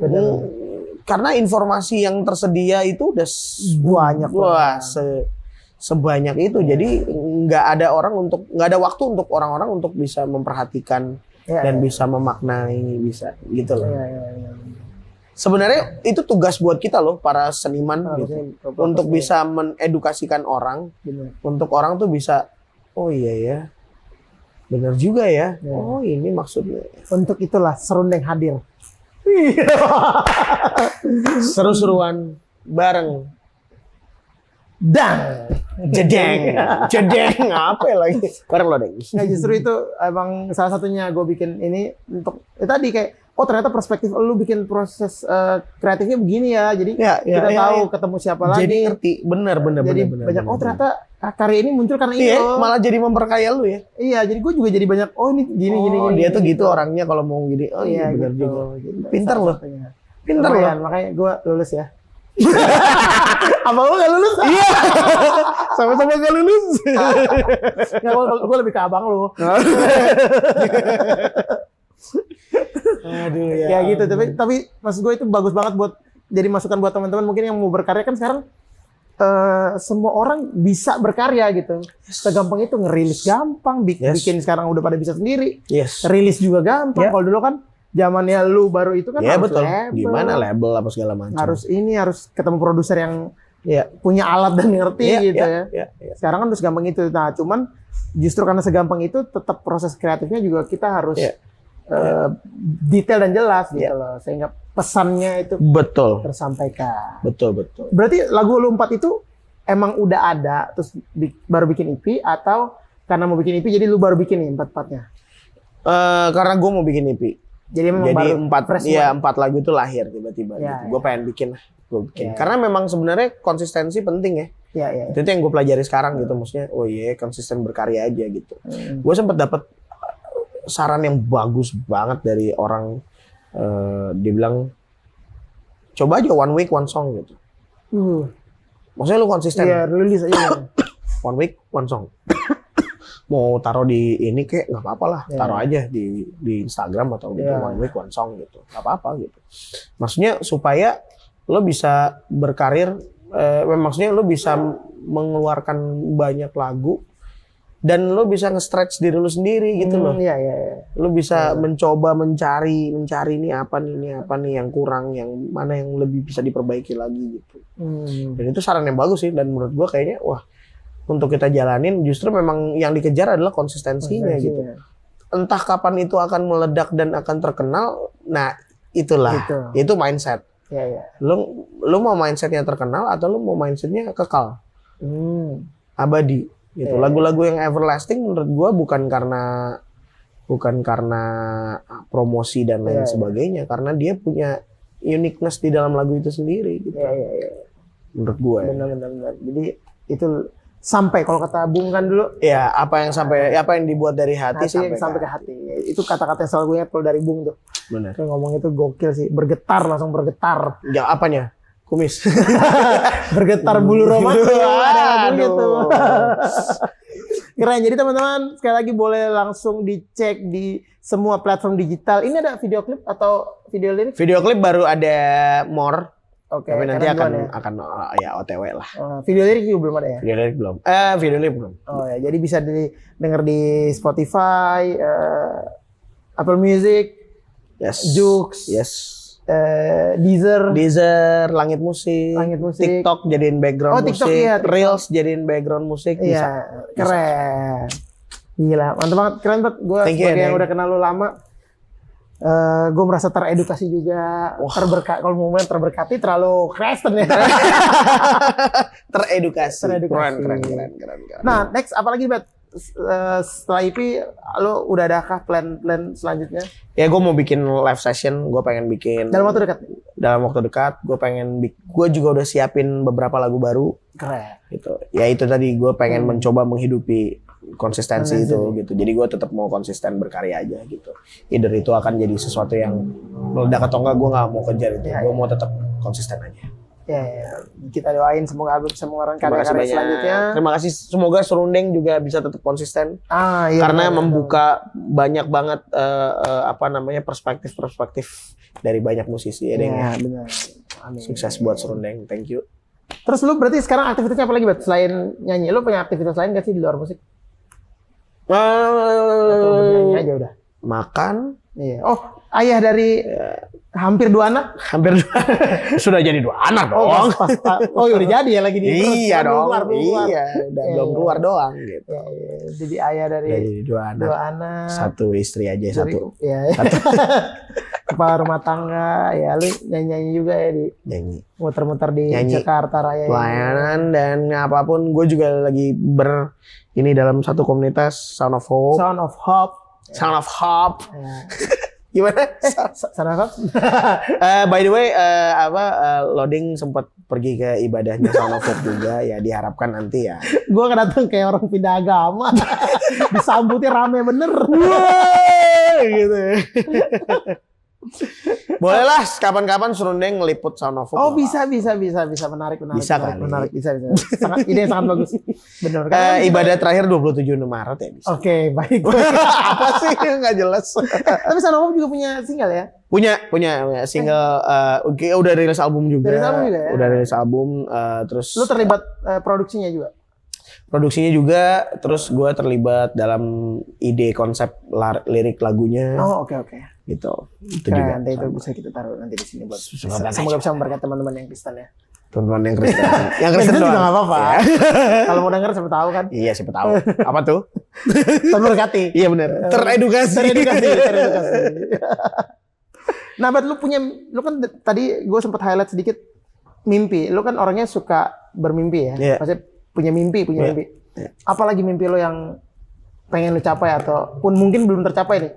S2: Benar.
S1: Hmm, karena informasi yang tersedia itu udah s-
S2: Banyak
S1: wah,
S2: banget.
S1: se- sebanyak itu. Jadi nggak ada orang untuk nggak ada waktu untuk orang-orang untuk bisa memperhatikan
S2: Iya,
S1: dan
S2: iya.
S1: bisa memaknai bisa gitu loh.
S2: Iya, iya, iya.
S1: Sebenarnya itu tugas buat kita loh para seniman gitu. Untuk bisa mengedukasikan orang,
S2: Benar.
S1: untuk orang tuh bisa oh iya ya. Benar juga ya.
S2: Iya.
S1: Oh, ini maksudnya.
S2: Untuk itulah serundeng hadir. Iya.
S1: Seru-seruan bareng
S2: Dan
S1: jedeng jedeng apa ya lagi Iya. bareng lo deng
S2: Nggak justru itu emang salah satunya gue bikin ini untuk ya tadi kayak oh ternyata perspektif lu bikin proses eh, kreatifnya begini ya jadi
S1: ya, ya,
S2: kita
S1: ya,
S2: tahu
S1: ya.
S2: ketemu siapa lagi
S1: jadi ngerti bener bener
S2: jadi
S1: bener, bener,
S2: banyak
S1: bener,
S2: oh ternyata karya ini muncul karena
S1: bener.
S2: ini
S1: iya
S2: loh.
S1: malah jadi memperkaya lu ya
S2: iya jadi gue juga jadi banyak oh ini gini gini,
S1: Oh,
S2: gini gitu.
S1: dia tuh gitu orangnya kalau mau gini oh iya bener juga Pinter
S2: Salah
S1: loh.
S2: satunya.
S1: pinter lo
S2: Lumayan, makanya gue lulus ya apa lu gak lulus
S1: iya sama-sama gak lulus
S2: Nggak, gue lebih ke abang lu
S1: aduh ya
S2: ya gitu tapi
S1: ampun.
S2: tapi maksud gue itu bagus banget buat jadi masukan buat teman-teman mungkin yang mau berkarya kan sekarang eh, semua orang bisa berkarya gitu segampang itu ngerilis gampang bik-
S1: Yes.
S2: bikin sekarang udah pada bisa sendiri
S1: yes
S2: rilis juga
S1: Ya.
S2: gampang kalau dulu kan zamannya lu baru itu kan
S1: ya
S2: harus
S1: betul
S2: label,
S1: gimana label apa segala macam
S2: harus ini harus ketemu produser yang
S1: ya
S2: punya alat dan ngerti
S1: Iya,
S2: gitu
S1: iya,
S2: ya
S1: iya, iya.
S2: sekarang kan udah segampang itu nah cuman justru karena segampang itu tetap proses kreatifnya juga kita harus
S1: Iya.
S2: eh, detail dan jelas gitu
S1: Iya.
S2: loh sehingga pesannya itu
S1: betul
S2: tersampaikan
S1: betul betul
S2: berarti lagu lu empat itu emang udah ada terus bi- baru bikin EP atau karena mau bikin EP jadi lu baru bikin nih empat empatnya
S1: Eh, karena gue mau bikin IP
S2: jadi memang
S1: Jadi
S2: Hmm, baru
S1: empat
S2: fresh
S1: ya
S2: banget.
S1: empat lagu itu lahir tiba-tiba.
S2: Ya,
S1: gitu. Gue pengen bikin lah, gue bikin.
S2: Ya.
S1: Karena memang sebenarnya konsistensi penting ya.
S2: ya ya, ya.
S1: Itu, itu yang gue pelajari sekarang gitu, maksudnya. Oh iya, konsisten berkarya aja gitu.
S2: Hmm.
S1: Gue sempet dapet eh, saran yang bagus banget dari orang. eh dia bilang, coba aja one week one song gitu.
S2: Uh,
S1: Maksudnya lu konsisten,
S2: iya rilis aja
S1: one week one song. mau taruh di ini kayak nggak apa-apa lah
S2: Ya.
S1: taruh aja di di Instagram atau gitu
S2: Ya.
S1: one week one song gitu nggak apa-apa gitu maksudnya supaya lo bisa berkarir eh, maksudnya lo bisa mengeluarkan banyak lagu dan lo bisa nge-stretch diri lo sendiri gitu loh
S2: Hmm, iya iya iya.
S1: lo bisa mencoba mencari mencari ini apa nih ini apa nih yang kurang yang mana yang lebih bisa diperbaiki lagi gitu
S2: Hmm.
S1: dan itu saran yang bagus sih dan menurut gua kayaknya wah untuk kita jalanin justru memang yang dikejar adalah konsistensinya gitu.
S2: Iya.
S1: Entah kapan itu akan meledak dan akan terkenal, nah itulah
S2: Gitu.
S1: itu mindset.
S2: Iya, iya.
S1: Lu lu mau mindsetnya terkenal atau lu mau mindsetnya kekal,
S2: Hmm.
S1: abadi gitu.
S2: Iya.
S1: Lagu-lagu yang everlasting menurut gua bukan karena bukan karena ah, promosi dan lain
S2: Iya, iya.
S1: sebagainya, karena dia punya uniqueness di dalam lagu itu sendiri gitu.
S2: Iya, iya, iya.
S1: Menurut gua. ya.
S2: Benar, benar, benar. Jadi itu sampai kalau kata Bung kan dulu
S1: Ya, apa yang sampai apa yang dibuat dari hati,
S2: hati sampai,
S1: sampai,
S2: ke hati. Itu kata-kata yang selalu gue ingat kalau dari Bung tuh.
S1: Benar.
S2: Kayak ngomong itu gokil sih, bergetar langsung bergetar.
S1: Ya, apanya? Kumis.
S2: Bergetar bulu romanya.
S1: Aduh.
S2: Ada lagunya tuh. Keren. Jadi teman-teman sekali lagi boleh langsung dicek di semua platform digital. Ini ada video klip atau video lirik?
S1: Video klip baru ada more,
S2: Oke.
S1: tapi nanti
S2: keren
S1: akan
S2: duluan ya.
S1: akan uh, ya OTW lah.
S2: Eh, video lirik juga belum ada ya.
S1: Video lirik belum. Eh, video lirik belum.
S2: Oh ya, jadi bisa didengar di Spotify, eh, Apple Music,
S1: Yes.
S2: Joox.
S1: Yes.
S2: eh, Deezer.
S1: Deezer, langit musik,
S2: Langit musik.
S1: TikTok jadiin background
S2: Oh, TikTok,
S1: musik,
S2: iya, TikTok.
S1: Reels jadiin background musik bisa.
S2: Iya, keren. Gila, mantap banget. Keren banget. Gue
S1: Thank you, ya,
S2: sebagai yang
S1: Eneng.
S2: udah kenal lu lama, gue merasa teredukasi juga. Terberkat, kalau mau bilang terberkati terlalu Kristen ya.
S1: Teredukasi.
S2: Teredukasi.
S1: Keren, keren, keren, keren, keren.
S2: nah, next apalagi Bet? S- eh, setelah IP, lo udah adakah plan-plan selanjutnya?
S1: Ya gue mau bikin live session, gue pengen bikin
S2: Dalam waktu dekat?
S1: dalam waktu dekat, gue pengen gue juga udah siapin beberapa lagu baru
S2: Keren.
S1: gitu. Ya itu tadi gue pengen mencoba menghidupi konsistensi
S2: Hmm. Konsistensi.
S1: itu gitu. Jadi gue tetap mau konsisten berkarya aja gitu. Either itu akan jadi sesuatu yang meledak atau enggak gue nggak mau kejar itu.
S2: Iya,
S1: Gue mau tetap konsisten aja.
S2: Ya, ya. kita doain semoga album bisa mengeluarkan
S1: Terima kasih
S2: karya-karya
S1: banyak.
S2: selanjutnya.
S1: Terima kasih. Semoga Serundeng juga bisa tetap konsisten
S2: Ah, iya,
S1: karena
S2: benar.
S1: membuka banyak banget eh, eh, apa namanya perspektif-perspektif dari banyak musisi. Ada yang
S2: Iya, benar. Amin.
S1: ya, sukses buat Serundeng. Thank you.
S2: Terus lu berarti sekarang aktivitasnya apa lagi, Bet? Selain nyanyi, lu punya aktivitas lain gak sih di luar musik? Atau
S1: Eh,
S2: nyanyi aja udah?
S1: makan
S2: Iya. Oh, ayah dari eh, hampir dua anak.
S1: hampir dua, sudah jadi dua anak dong.
S2: Oh, pas, pas, pas. oh udah jadi ya lagi di perut.
S1: iya
S2: Belum
S1: dong.
S2: keluar, belum keluar.
S1: Iya, udah belum
S2: Iya, iya.
S1: keluar doang gitu.
S2: Iya, iya. Jadi ayah dari
S1: Udah jadi dua anak.
S2: dua anak.
S1: Satu istri aja
S2: Dari-
S1: satu
S2: Iya. Kepala rumah tangga, ya lu nyanyi-nyanyi juga ya di
S1: nyanyi.
S2: muter-muter di
S1: Nyanyi.
S2: Jakarta Raya. ini.
S1: Pelayanan dan apapun gue juga lagi ber ini dalam satu komunitas Sound of Hope.
S2: Sound of Hope.
S1: Sound of Hope.
S2: Ya.
S1: Gimana?
S2: Eh, Sound of Hope.
S1: Eh, by the way, eh, apa eh, loading sempat pergi ke ibadahnya Sound of Hope juga ya diharapkan nanti ya.
S2: Gue kedatang kayak orang pindah agama. Disambutnya rame bener.
S1: gitu. Bolehlah kapan-kapan Serundeng ngeliput Sound of Hope.
S2: Oh
S1: nggak
S2: bisa bisa bisa bisa menarik menarik
S1: Bisa
S2: menarik,
S1: kali.
S2: menarik bisa bisa. Sangat ide yang sangat bagus. Benar.
S1: apa-apa. Eh, ibadah terakhir 27 Maret ya bisa.
S2: Oke, baik.
S1: apa sih nggak jelas.
S2: Tapi Sanomo juga punya single ya?
S1: punya punya punya single eh, oke udah rilis album juga.
S2: Udah rilis album juga ya?
S1: Udah rilis album eh, terus
S2: Lu terlibat eh, produksinya juga?
S1: produksinya juga terus gue terlibat dalam ide konsep lar- lirik lagunya
S2: Oh, oke oke.
S1: gitu. Iya. Itu
S2: Keren,
S1: juga.
S2: nanti itu bisa kita taruh nanti di sini buat
S1: Semoga
S2: bisa-
S1: berkat.
S2: semoga bisa memberkati teman-teman yang Kristen ya.
S1: Teman-teman yang Kristen. yang Kristen
S2: Kristen juga
S1: doang.
S2: nggak apa-apa.
S1: Iya.
S2: Kalau mau denger siapa tahu kan.
S1: Iya siapa tahu. Apa tuh?
S2: Terberkati.
S1: Iya benar. Teredukasi.
S2: Teredukasi, teredukasi. nah, Bet, lu punya lu kan d- tadi gue sempat highlight sedikit mimpi. Lu kan orangnya suka bermimpi ya.
S1: Iya.
S2: Maksudnya punya mimpi, punya
S1: Iya.
S2: mimpi. Apalagi mimpi lu yang pengen lu capai atau pun mungkin belum tercapai nih.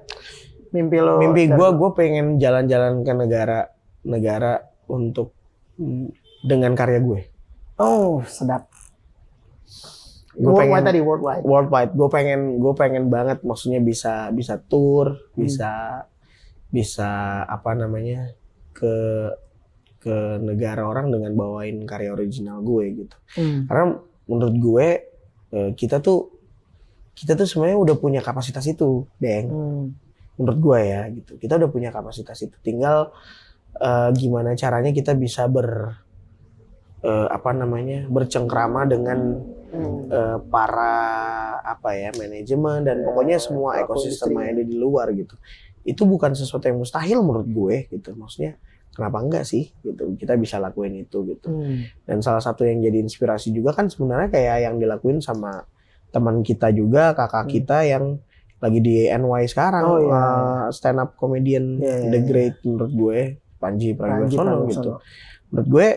S2: Mimpi lu.
S1: Mimpi
S2: dan-
S1: gue, gue pengen jalan-jalan ke negara-negara untuk mm, dengan karya gue.
S2: Oh, sedap.
S1: Gue
S2: worldwide
S1: pengen
S2: tadi worldwide.
S1: worldwide. Gue pengen, gue pengen banget. Maksudnya bisa, bisa tour, bisa, bisa apa namanya ke ke negara orang dengan bawain karya original gue gitu. Karena menurut gue eh, kita tuh kita tuh sebenarnya udah punya kapasitas itu, Deng.
S2: Hmm.
S1: menurut gue ya gitu kita udah punya kapasitas itu tinggal eh, gimana caranya kita bisa ber eh, apa namanya bercengkrama dengan
S2: Hmm.
S1: eh, para apa ya manajemen dan pokoknya semua
S2: pelaku
S1: ekosistem
S2: industri.
S1: yang ada di luar gitu itu bukan sesuatu yang mustahil menurut gue gitu maksudnya kenapa enggak sih gitu kita bisa lakuin itu gitu
S2: Hmm.
S1: dan salah satu yang jadi inspirasi juga kan sebenarnya kayak yang dilakuin sama teman kita juga kakak
S2: Hmm.
S1: kita yang lagi di NY sekarang
S2: Oh, iya.
S1: eh, stand up comedian
S2: Iya, iya,
S1: the
S2: iya.
S1: great menurut gue Panji
S2: Panji
S1: Pragiwaksono gitu
S2: Pragiwaksono.
S1: menurut gue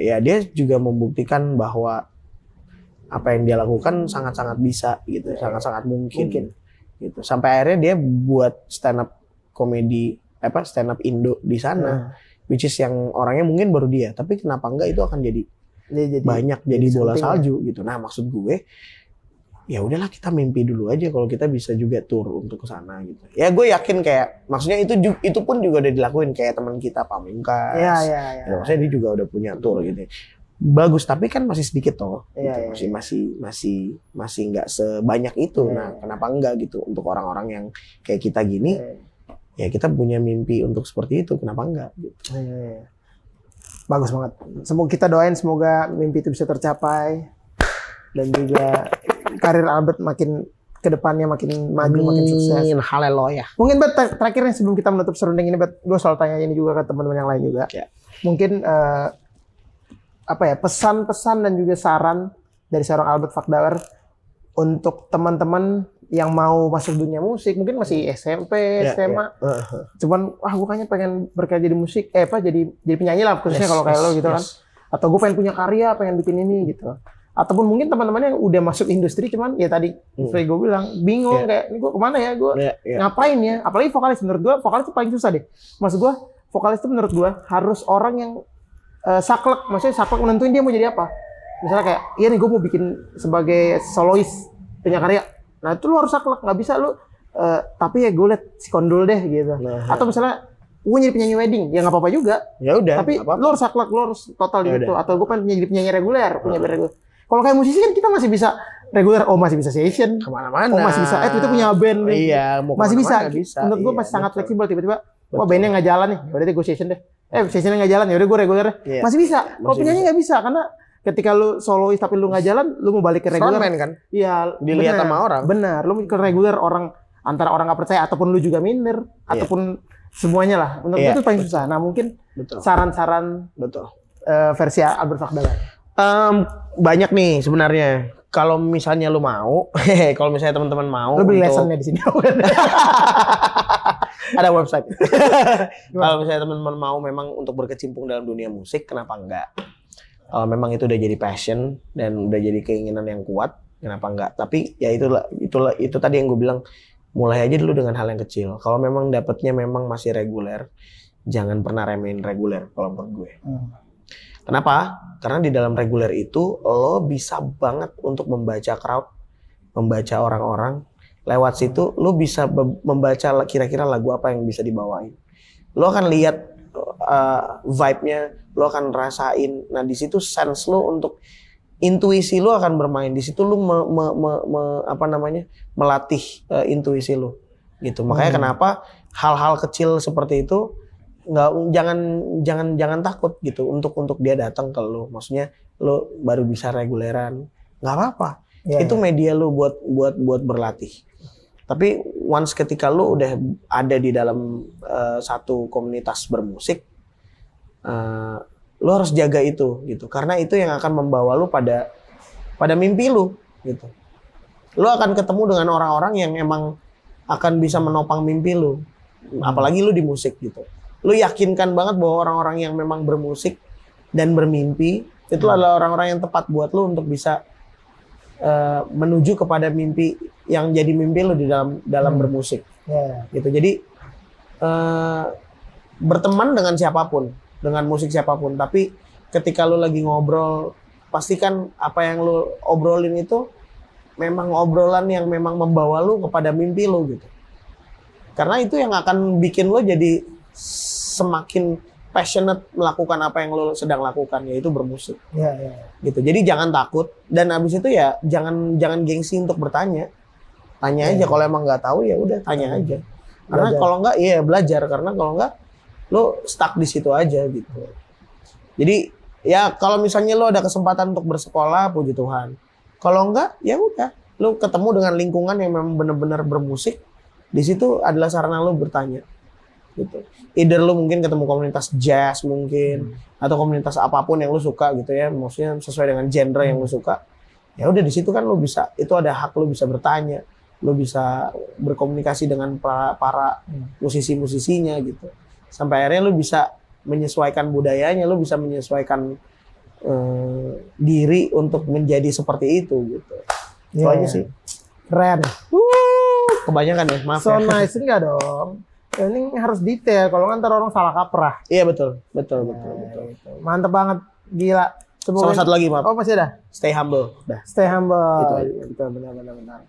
S1: ya dia juga membuktikan bahwa apa yang dia lakukan sangat-sangat bisa gitu
S2: Iya,
S1: sangat-sangat mungkin,
S2: Mungkin.
S1: gitu sampai akhirnya dia buat stand up komedi apa stand up Indo di sana
S2: Nah,
S1: which is yang orangnya mungkin baru dia tapi kenapa enggak itu akan jadi
S2: dia jadi
S1: banyak jadi
S2: jadi
S1: bola
S2: something
S1: salju gitu. Nah maksud gue ya udahlah kita mimpi dulu aja kalau kita bisa juga tur untuk ke sana gitu. Ya gue yakin kayak maksudnya itu ju- itu pun juga udah dilakuin kayak teman kita Pamungkas.
S2: Iya, iya, iya.
S1: Ya, maksudnya dia juga udah punya tur gitu. bagus tapi kan masih sedikit toh gitu.
S2: Iya, iya.
S1: masih masih masih masih nggak sebanyak itu
S2: Iya,
S1: nah
S2: iya.
S1: kenapa enggak gitu untuk orang-orang yang kayak kita gini ya kita punya mimpi untuk seperti itu kenapa enggak gitu.
S2: Iya. Bagus banget. Semoga kita doain semoga mimpi itu bisa tercapai dan juga karir Albert makin kedepannya makin maju, makin sukses.
S1: Amin, haleluya
S2: Mungkin bet ter- terakhir nih sebelum kita menutup serunding ini, bet gue selalu tanya ini juga ke teman-teman yang lain juga.
S1: Ya.
S2: Mungkin eh, apa ya pesan-pesan dan juga saran dari seorang Albert Fakdawar untuk teman-teman yang mau masuk dunia musik, mungkin masih SMP,
S1: Ya, ya.
S2: SMA,
S1: Heeh.
S2: cuman wah gue kayaknya pengen berkarya jadi musik eh apa jadi jadi penyanyi lah khususnya
S1: Yes,
S2: kalau kayak
S1: yes,
S2: lo gitu
S1: yes.
S2: kan atau gue pengen punya karya pengen bikin ini gitu ataupun mungkin teman-teman yang udah masuk industri cuman ya tadi
S1: Hmm.
S2: seperti gue bilang
S1: Iya.
S2: bingung kayak ini gue kemana ya gue
S1: Ya, ya.
S2: ngapain ya apalagi vokalis menurut gue vokalis itu paling susah deh maksud gue vokalis itu menurut gue harus orang yang eh, saklek maksudnya saklek menentuin dia mau jadi apa misalnya kayak iya nih gue mau bikin sebagai solois punya karya nah itu lu harus saklek nggak bisa lu eh, tapi ya gue liat si kondol deh gitu
S1: Nah,
S2: atau misalnya gue jadi penyanyi wedding ya nggak apa-apa juga
S1: ya udah
S2: tapi
S1: nggak apa-apa.
S2: lo harus saklek lo harus total di
S1: Ya Nah.
S2: situ atau gue pengen jadi penyanyi reguler punya band reguler kalau kayak musisi kan kita masih bisa reguler oh masih bisa session
S1: kemana-mana
S2: oh masih bisa eh itu punya band nih.
S1: iya mau
S2: masih bisa.
S1: kemana-mana
S2: menurut gue
S1: Iya,
S2: masih sangat
S1: betul.
S2: fleksibel tiba-tiba wah
S1: Betul.
S2: bandnya nggak jalan nih Ya udah deh gue session deh eh sessionnya nggak jalan ya udah gue reguler deh
S1: Iya.
S2: masih bisa kalau
S1: Masih
S2: penyanyi nggak bisa karena ketika lu solois tapi lu nggak jalan lu mau balik ke reguler
S1: Frontman kan
S2: iya
S1: dilihat
S2: benar.
S1: sama orang
S2: Benar, lu ke reguler orang antara orang nggak percaya ataupun lu juga minder ataupun semuanya lah. Menurut
S1: Iya.
S2: gue itu paling susah. Nah mungkin
S1: betul
S2: saran-saran
S1: betul
S2: eh, versi Albert Fakdalan.
S1: Em, banyak nih sebenarnya kalau misalnya lu mau kalau misalnya teman-teman mau
S2: lu beli
S1: Oh, untuk-
S2: lessonnya di sini.
S1: ada website. Kalau misalnya teman-teman mau memang untuk berkecimpung dalam dunia musik, kenapa enggak? Kalau memang itu udah jadi passion dan udah jadi keinginan yang kuat, kenapa enggak? Tapi ya itulah itulah itu tadi yang gue bilang mulai aja dulu dengan hal yang kecil. Kalau memang dapatnya memang masih reguler, jangan pernah remehin reguler kalau menurut gue.
S2: Hmm.
S1: Kenapa? Karena di dalam reguler itu lo bisa banget untuk membaca crowd, membaca orang-orang. Lewat situ lo bisa be- membaca la- kira-kira lagu apa yang bisa dibawain. Lo akan lihat uh, vibe-nya, lo akan rasain. Nah, di situ sense lo untuk intuisi lo akan bermain. Di situ lo me- me- me- me- apa namanya? melatih uh, intuisi lo. Gitu. Makanya
S2: Hmm.
S1: kenapa hal-hal kecil seperti itu nggak jangan jangan jangan takut gitu untuk untuk dia datang ke lu maksudnya lu baru bisa reguleran nggak apa-apa
S2: Iya,
S1: itu media lu buat buat buat berlatih tapi once ketika lu udah ada di dalam eh, satu komunitas bermusik eh, lu harus jaga itu gitu karena itu yang akan membawa lu pada pada mimpi lu gitu lu akan ketemu dengan orang-orang yang emang akan bisa menopang mimpi lu
S2: Hmm.
S1: apalagi lu di musik gitu lu yakinkan banget bahwa orang-orang yang memang bermusik dan bermimpi itu adalah orang-orang yang tepat buat lu untuk bisa eh, menuju kepada mimpi yang jadi mimpi lu di dalam dalam
S2: Hmm.
S1: bermusik
S2: Iya.
S1: gitu jadi eh, berteman dengan siapapun dengan musik siapapun tapi ketika lu lagi ngobrol pastikan apa yang lu obrolin itu memang obrolan yang memang membawa lu kepada mimpi lu gitu karena itu yang akan bikin lo jadi semakin passionate melakukan apa yang lo sedang lakukan yaitu bermusik
S2: Iya, iya.
S1: gitu. Jadi jangan takut dan abis itu ya jangan jangan gengsi untuk bertanya. Tanya aja kalau emang nggak tahu ya udah tanya aja. Karena
S2: Belajar.
S1: kalau nggak iya belajar karena kalau nggak lo stuck di situ aja gitu. Jadi ya kalau misalnya lo ada kesempatan untuk bersekolah puji Tuhan. Kalau nggak ya udah lo ketemu dengan lingkungan yang memang benar-benar bermusik di situ adalah sarana lo bertanya gitu. Either lo mungkin ketemu komunitas jazz mungkin atau komunitas apapun yang lu suka gitu ya maksudnya sesuai dengan genre yang lu suka ya udah di situ kan lu bisa itu ada hak lu bisa bertanya lu bisa berkomunikasi dengan para, para
S2: Hmm.
S1: musisi-musisinya gitu sampai akhirnya lu bisa menyesuaikan budayanya lu bisa menyesuaikan eh, diri untuk menjadi seperti itu gitu itu
S2: Iya,
S1: aja
S2: iya.
S1: sih
S2: Keren.
S1: kebanyakan ya maaf
S2: So
S1: ya.
S2: nice enggak dong? Ini harus detail kalau nggak ntar orang salah kaprah. Nah, gitu.
S1: iya betul betul betul
S2: iya,
S1: betul
S2: Mantep banget, gila. Semoga
S1: sama satu lagi maaf
S2: Oh masih ada?
S1: stay humble dah
S2: Stay humble.
S1: Itu
S2: Itu
S1: aja.
S2: betul benar benar benar.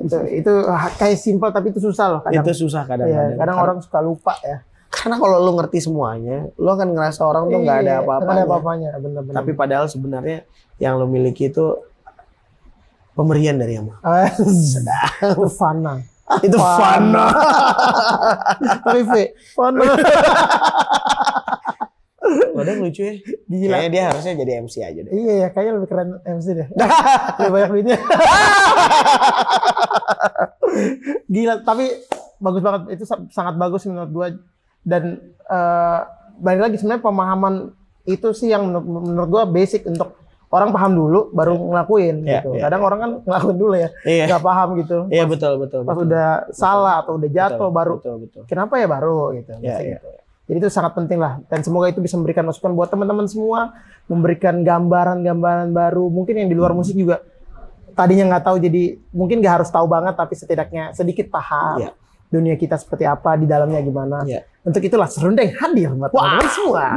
S2: itu, itu kayak simpel tapi itu susah loh kadang.
S1: itu susah
S2: Iya, kadang,
S1: kadang-kadang
S2: orang suka lupa ya.
S1: Karena kalau lu ngerti semuanya, lu akan ngerasa orang tuh nggak ada
S2: Iya,
S1: apa-apa.
S2: nggak ada apa-apanya bener-bener
S1: Tapi padahal sebenarnya yang lu miliki itu pemberian dari yang Maha.
S2: Ah, itu fana
S1: Itu fana.
S2: tapi V
S1: Fana. Wadah lucu ya.
S2: Gila.
S1: Kayaknya dia harusnya jadi MC aja deh.
S2: iya ya kayaknya lebih keren MC deh lebih banyak duitnya gila tapi bagus banget itu sa- sangat bagus menurut gua dan eh, balik lagi sebenarnya pemahaman itu sih yang menur- menurut gua basic untuk orang paham dulu baru ngelakuin
S1: Iya,
S2: gitu
S1: iya,
S2: kadang orang kan ngelakuin dulu ya
S1: Iya.
S2: nggak paham gitu
S1: Iya betul betul.
S2: pas
S1: betul.
S2: udah salah atau udah jatuh
S1: Betul,
S2: baru
S1: Betul betul.
S2: kenapa ya baru gitu.
S1: Iya,
S2: Biasanya
S1: iya.
S2: gitu. Jadi itu sangat penting lah dan semoga itu bisa memberikan masukan buat teman-teman semua, memberikan gambaran-gambaran baru, mungkin yang di luar musik juga tadinya nggak tahu jadi mungkin nggak harus tahu banget tapi setidaknya sedikit paham
S1: Iya.
S2: dunia kita seperti apa di dalamnya gimana.
S1: Iya.
S2: Untuk itulah serundeng hadir buat teman-teman semua.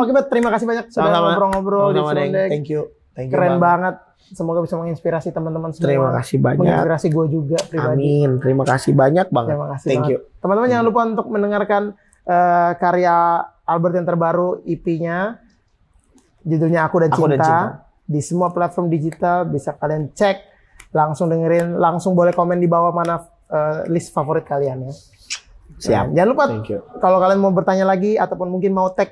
S2: Oke, Bet, terima kasih banyak sudah
S1: Sama-sama.
S2: ngobrol-ngobrol di
S1: Sama-sama, Deng.
S2: serundeng.
S1: Thank you. Thank you.
S2: Keren
S1: Bang.
S2: banget. Semoga bisa menginspirasi teman-teman semua.
S1: Terima kasih banyak.
S2: Menginspirasi gue juga pribadi.
S1: Amin. Terima kasih banyak banget.
S2: Terima kasih
S1: Thank
S2: banget.
S1: you.
S2: Teman-teman jangan
S1: Hmm.
S2: lupa untuk mendengarkan eh, karya Albert yang terbaru EP-nya. Judulnya Aku dan,
S1: Aku
S2: Cinta.
S1: dan Cinta.
S2: Di semua platform digital bisa kalian cek, langsung dengerin, langsung boleh komen di bawah mana eh, list favorit kalian ya.
S1: Siap.
S2: Jangan lupa
S1: Thank you.
S2: kalau kalian mau bertanya lagi ataupun mungkin mau tag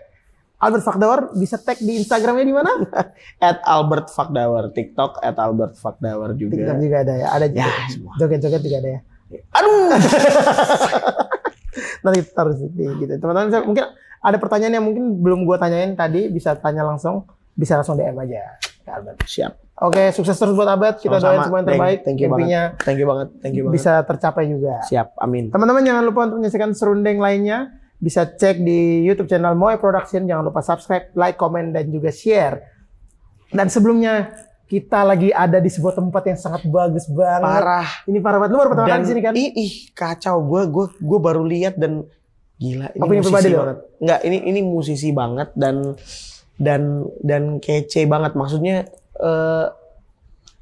S2: Albert Fakdawar bisa tag di Instagramnya di mana?
S1: At Albert Fakdawar TikTok, at Albert Fakdawar
S2: TikTok
S1: juga.
S2: juga ada ya, ada juga.
S1: Iya. Ya, semua.
S2: Joget-joget juga ada ya.
S1: Aduh.
S2: nanti taruh di situ, gitu. Teman-teman bisa- mungkin ada pertanyaan yang mungkin belum gua tanyain tadi bisa tanya langsung, bisa langsung DM aja ke Albert.
S1: Siap.
S2: Oke, sukses terus buat Albert. Kita doain
S1: Sama-sama.
S2: semua yang
S1: Thank-
S2: terbaik.
S1: Thank you
S2: Mimpinya
S1: banget. Thank you banget. Thank you banget.
S2: bisa tercapai juga.
S1: Siap. Amin.
S2: Teman-teman jangan lupa untuk menyaksikan serundeng lainnya. Bisa cek di YouTube channel Moe Production. Jangan lupa subscribe, like, komen, dan juga share. Dan sebelumnya kita lagi ada di sebuah tempat yang sangat bagus banget.
S1: Parah.
S2: Ini parah banget. Lu baru pertama kali
S1: Dan iya,
S2: di sini kan?
S1: ih, ih, kacau gue gue gue baru lihat dan gila ini
S2: Opini
S1: musisi
S2: pribadi lo?
S1: banget. Enggak, ini ini musisi banget dan dan dan kece banget maksudnya eh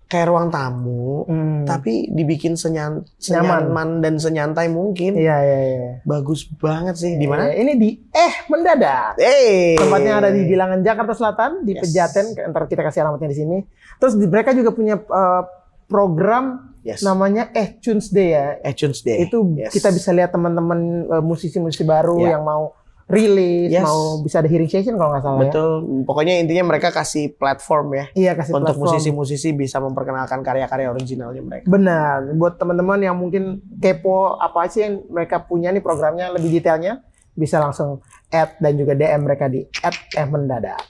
S1: kayak ruang tamu
S2: Hmm.
S1: tapi dibikin senyan, senyaman dan senyantai mungkin.
S2: Iya, iya, iya.
S1: Bagus banget sih. Di mana?
S2: Eh, Ini di Eh Mendadak.
S1: Eh.
S2: Tempatnya ada di bilangan Jakarta Selatan di
S1: Yes.
S2: Pejaten. Ntar kita kasih alamatnya di sini. Terus di- mereka juga punya eh, program
S1: Yes.
S2: namanya Eh Tuesday ya.
S1: iTunes Day.
S2: Itu
S1: Yes.
S2: kita bisa ya? lihat teman-teman eh, musisi-musisi baru
S1: Ya.
S2: yang mau rilis,
S1: Yes.
S2: mau bisa ada hearing session kalau nggak salah ya.
S1: betul. Pokoknya intinya mereka kasih platform ya
S2: Iya kasih
S1: untuk
S2: platform.
S1: musisi-musisi bisa memperkenalkan karya-karya originalnya mereka.
S2: Benar, buat teman-teman yang mungkin kepo apa sih yang mereka punya nih programnya lebih detailnya bisa langsung add dan juga DM mereka di @mendadak.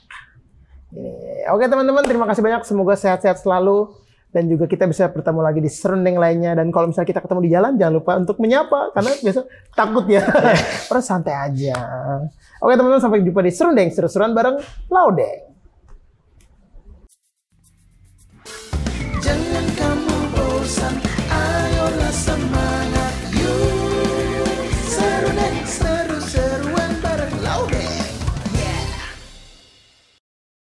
S2: Ini. Oke teman-teman, terima kasih banyak. Semoga sehat-sehat selalu dan juga kita bisa bertemu lagi di serundeng lainnya dan kalau misalnya kita ketemu di jalan jangan lupa untuk menyapa karena biasa takut ya. Orang santai aja. Oke teman-teman, sampai jumpa di serundeng seru-seruan bareng Laudeng.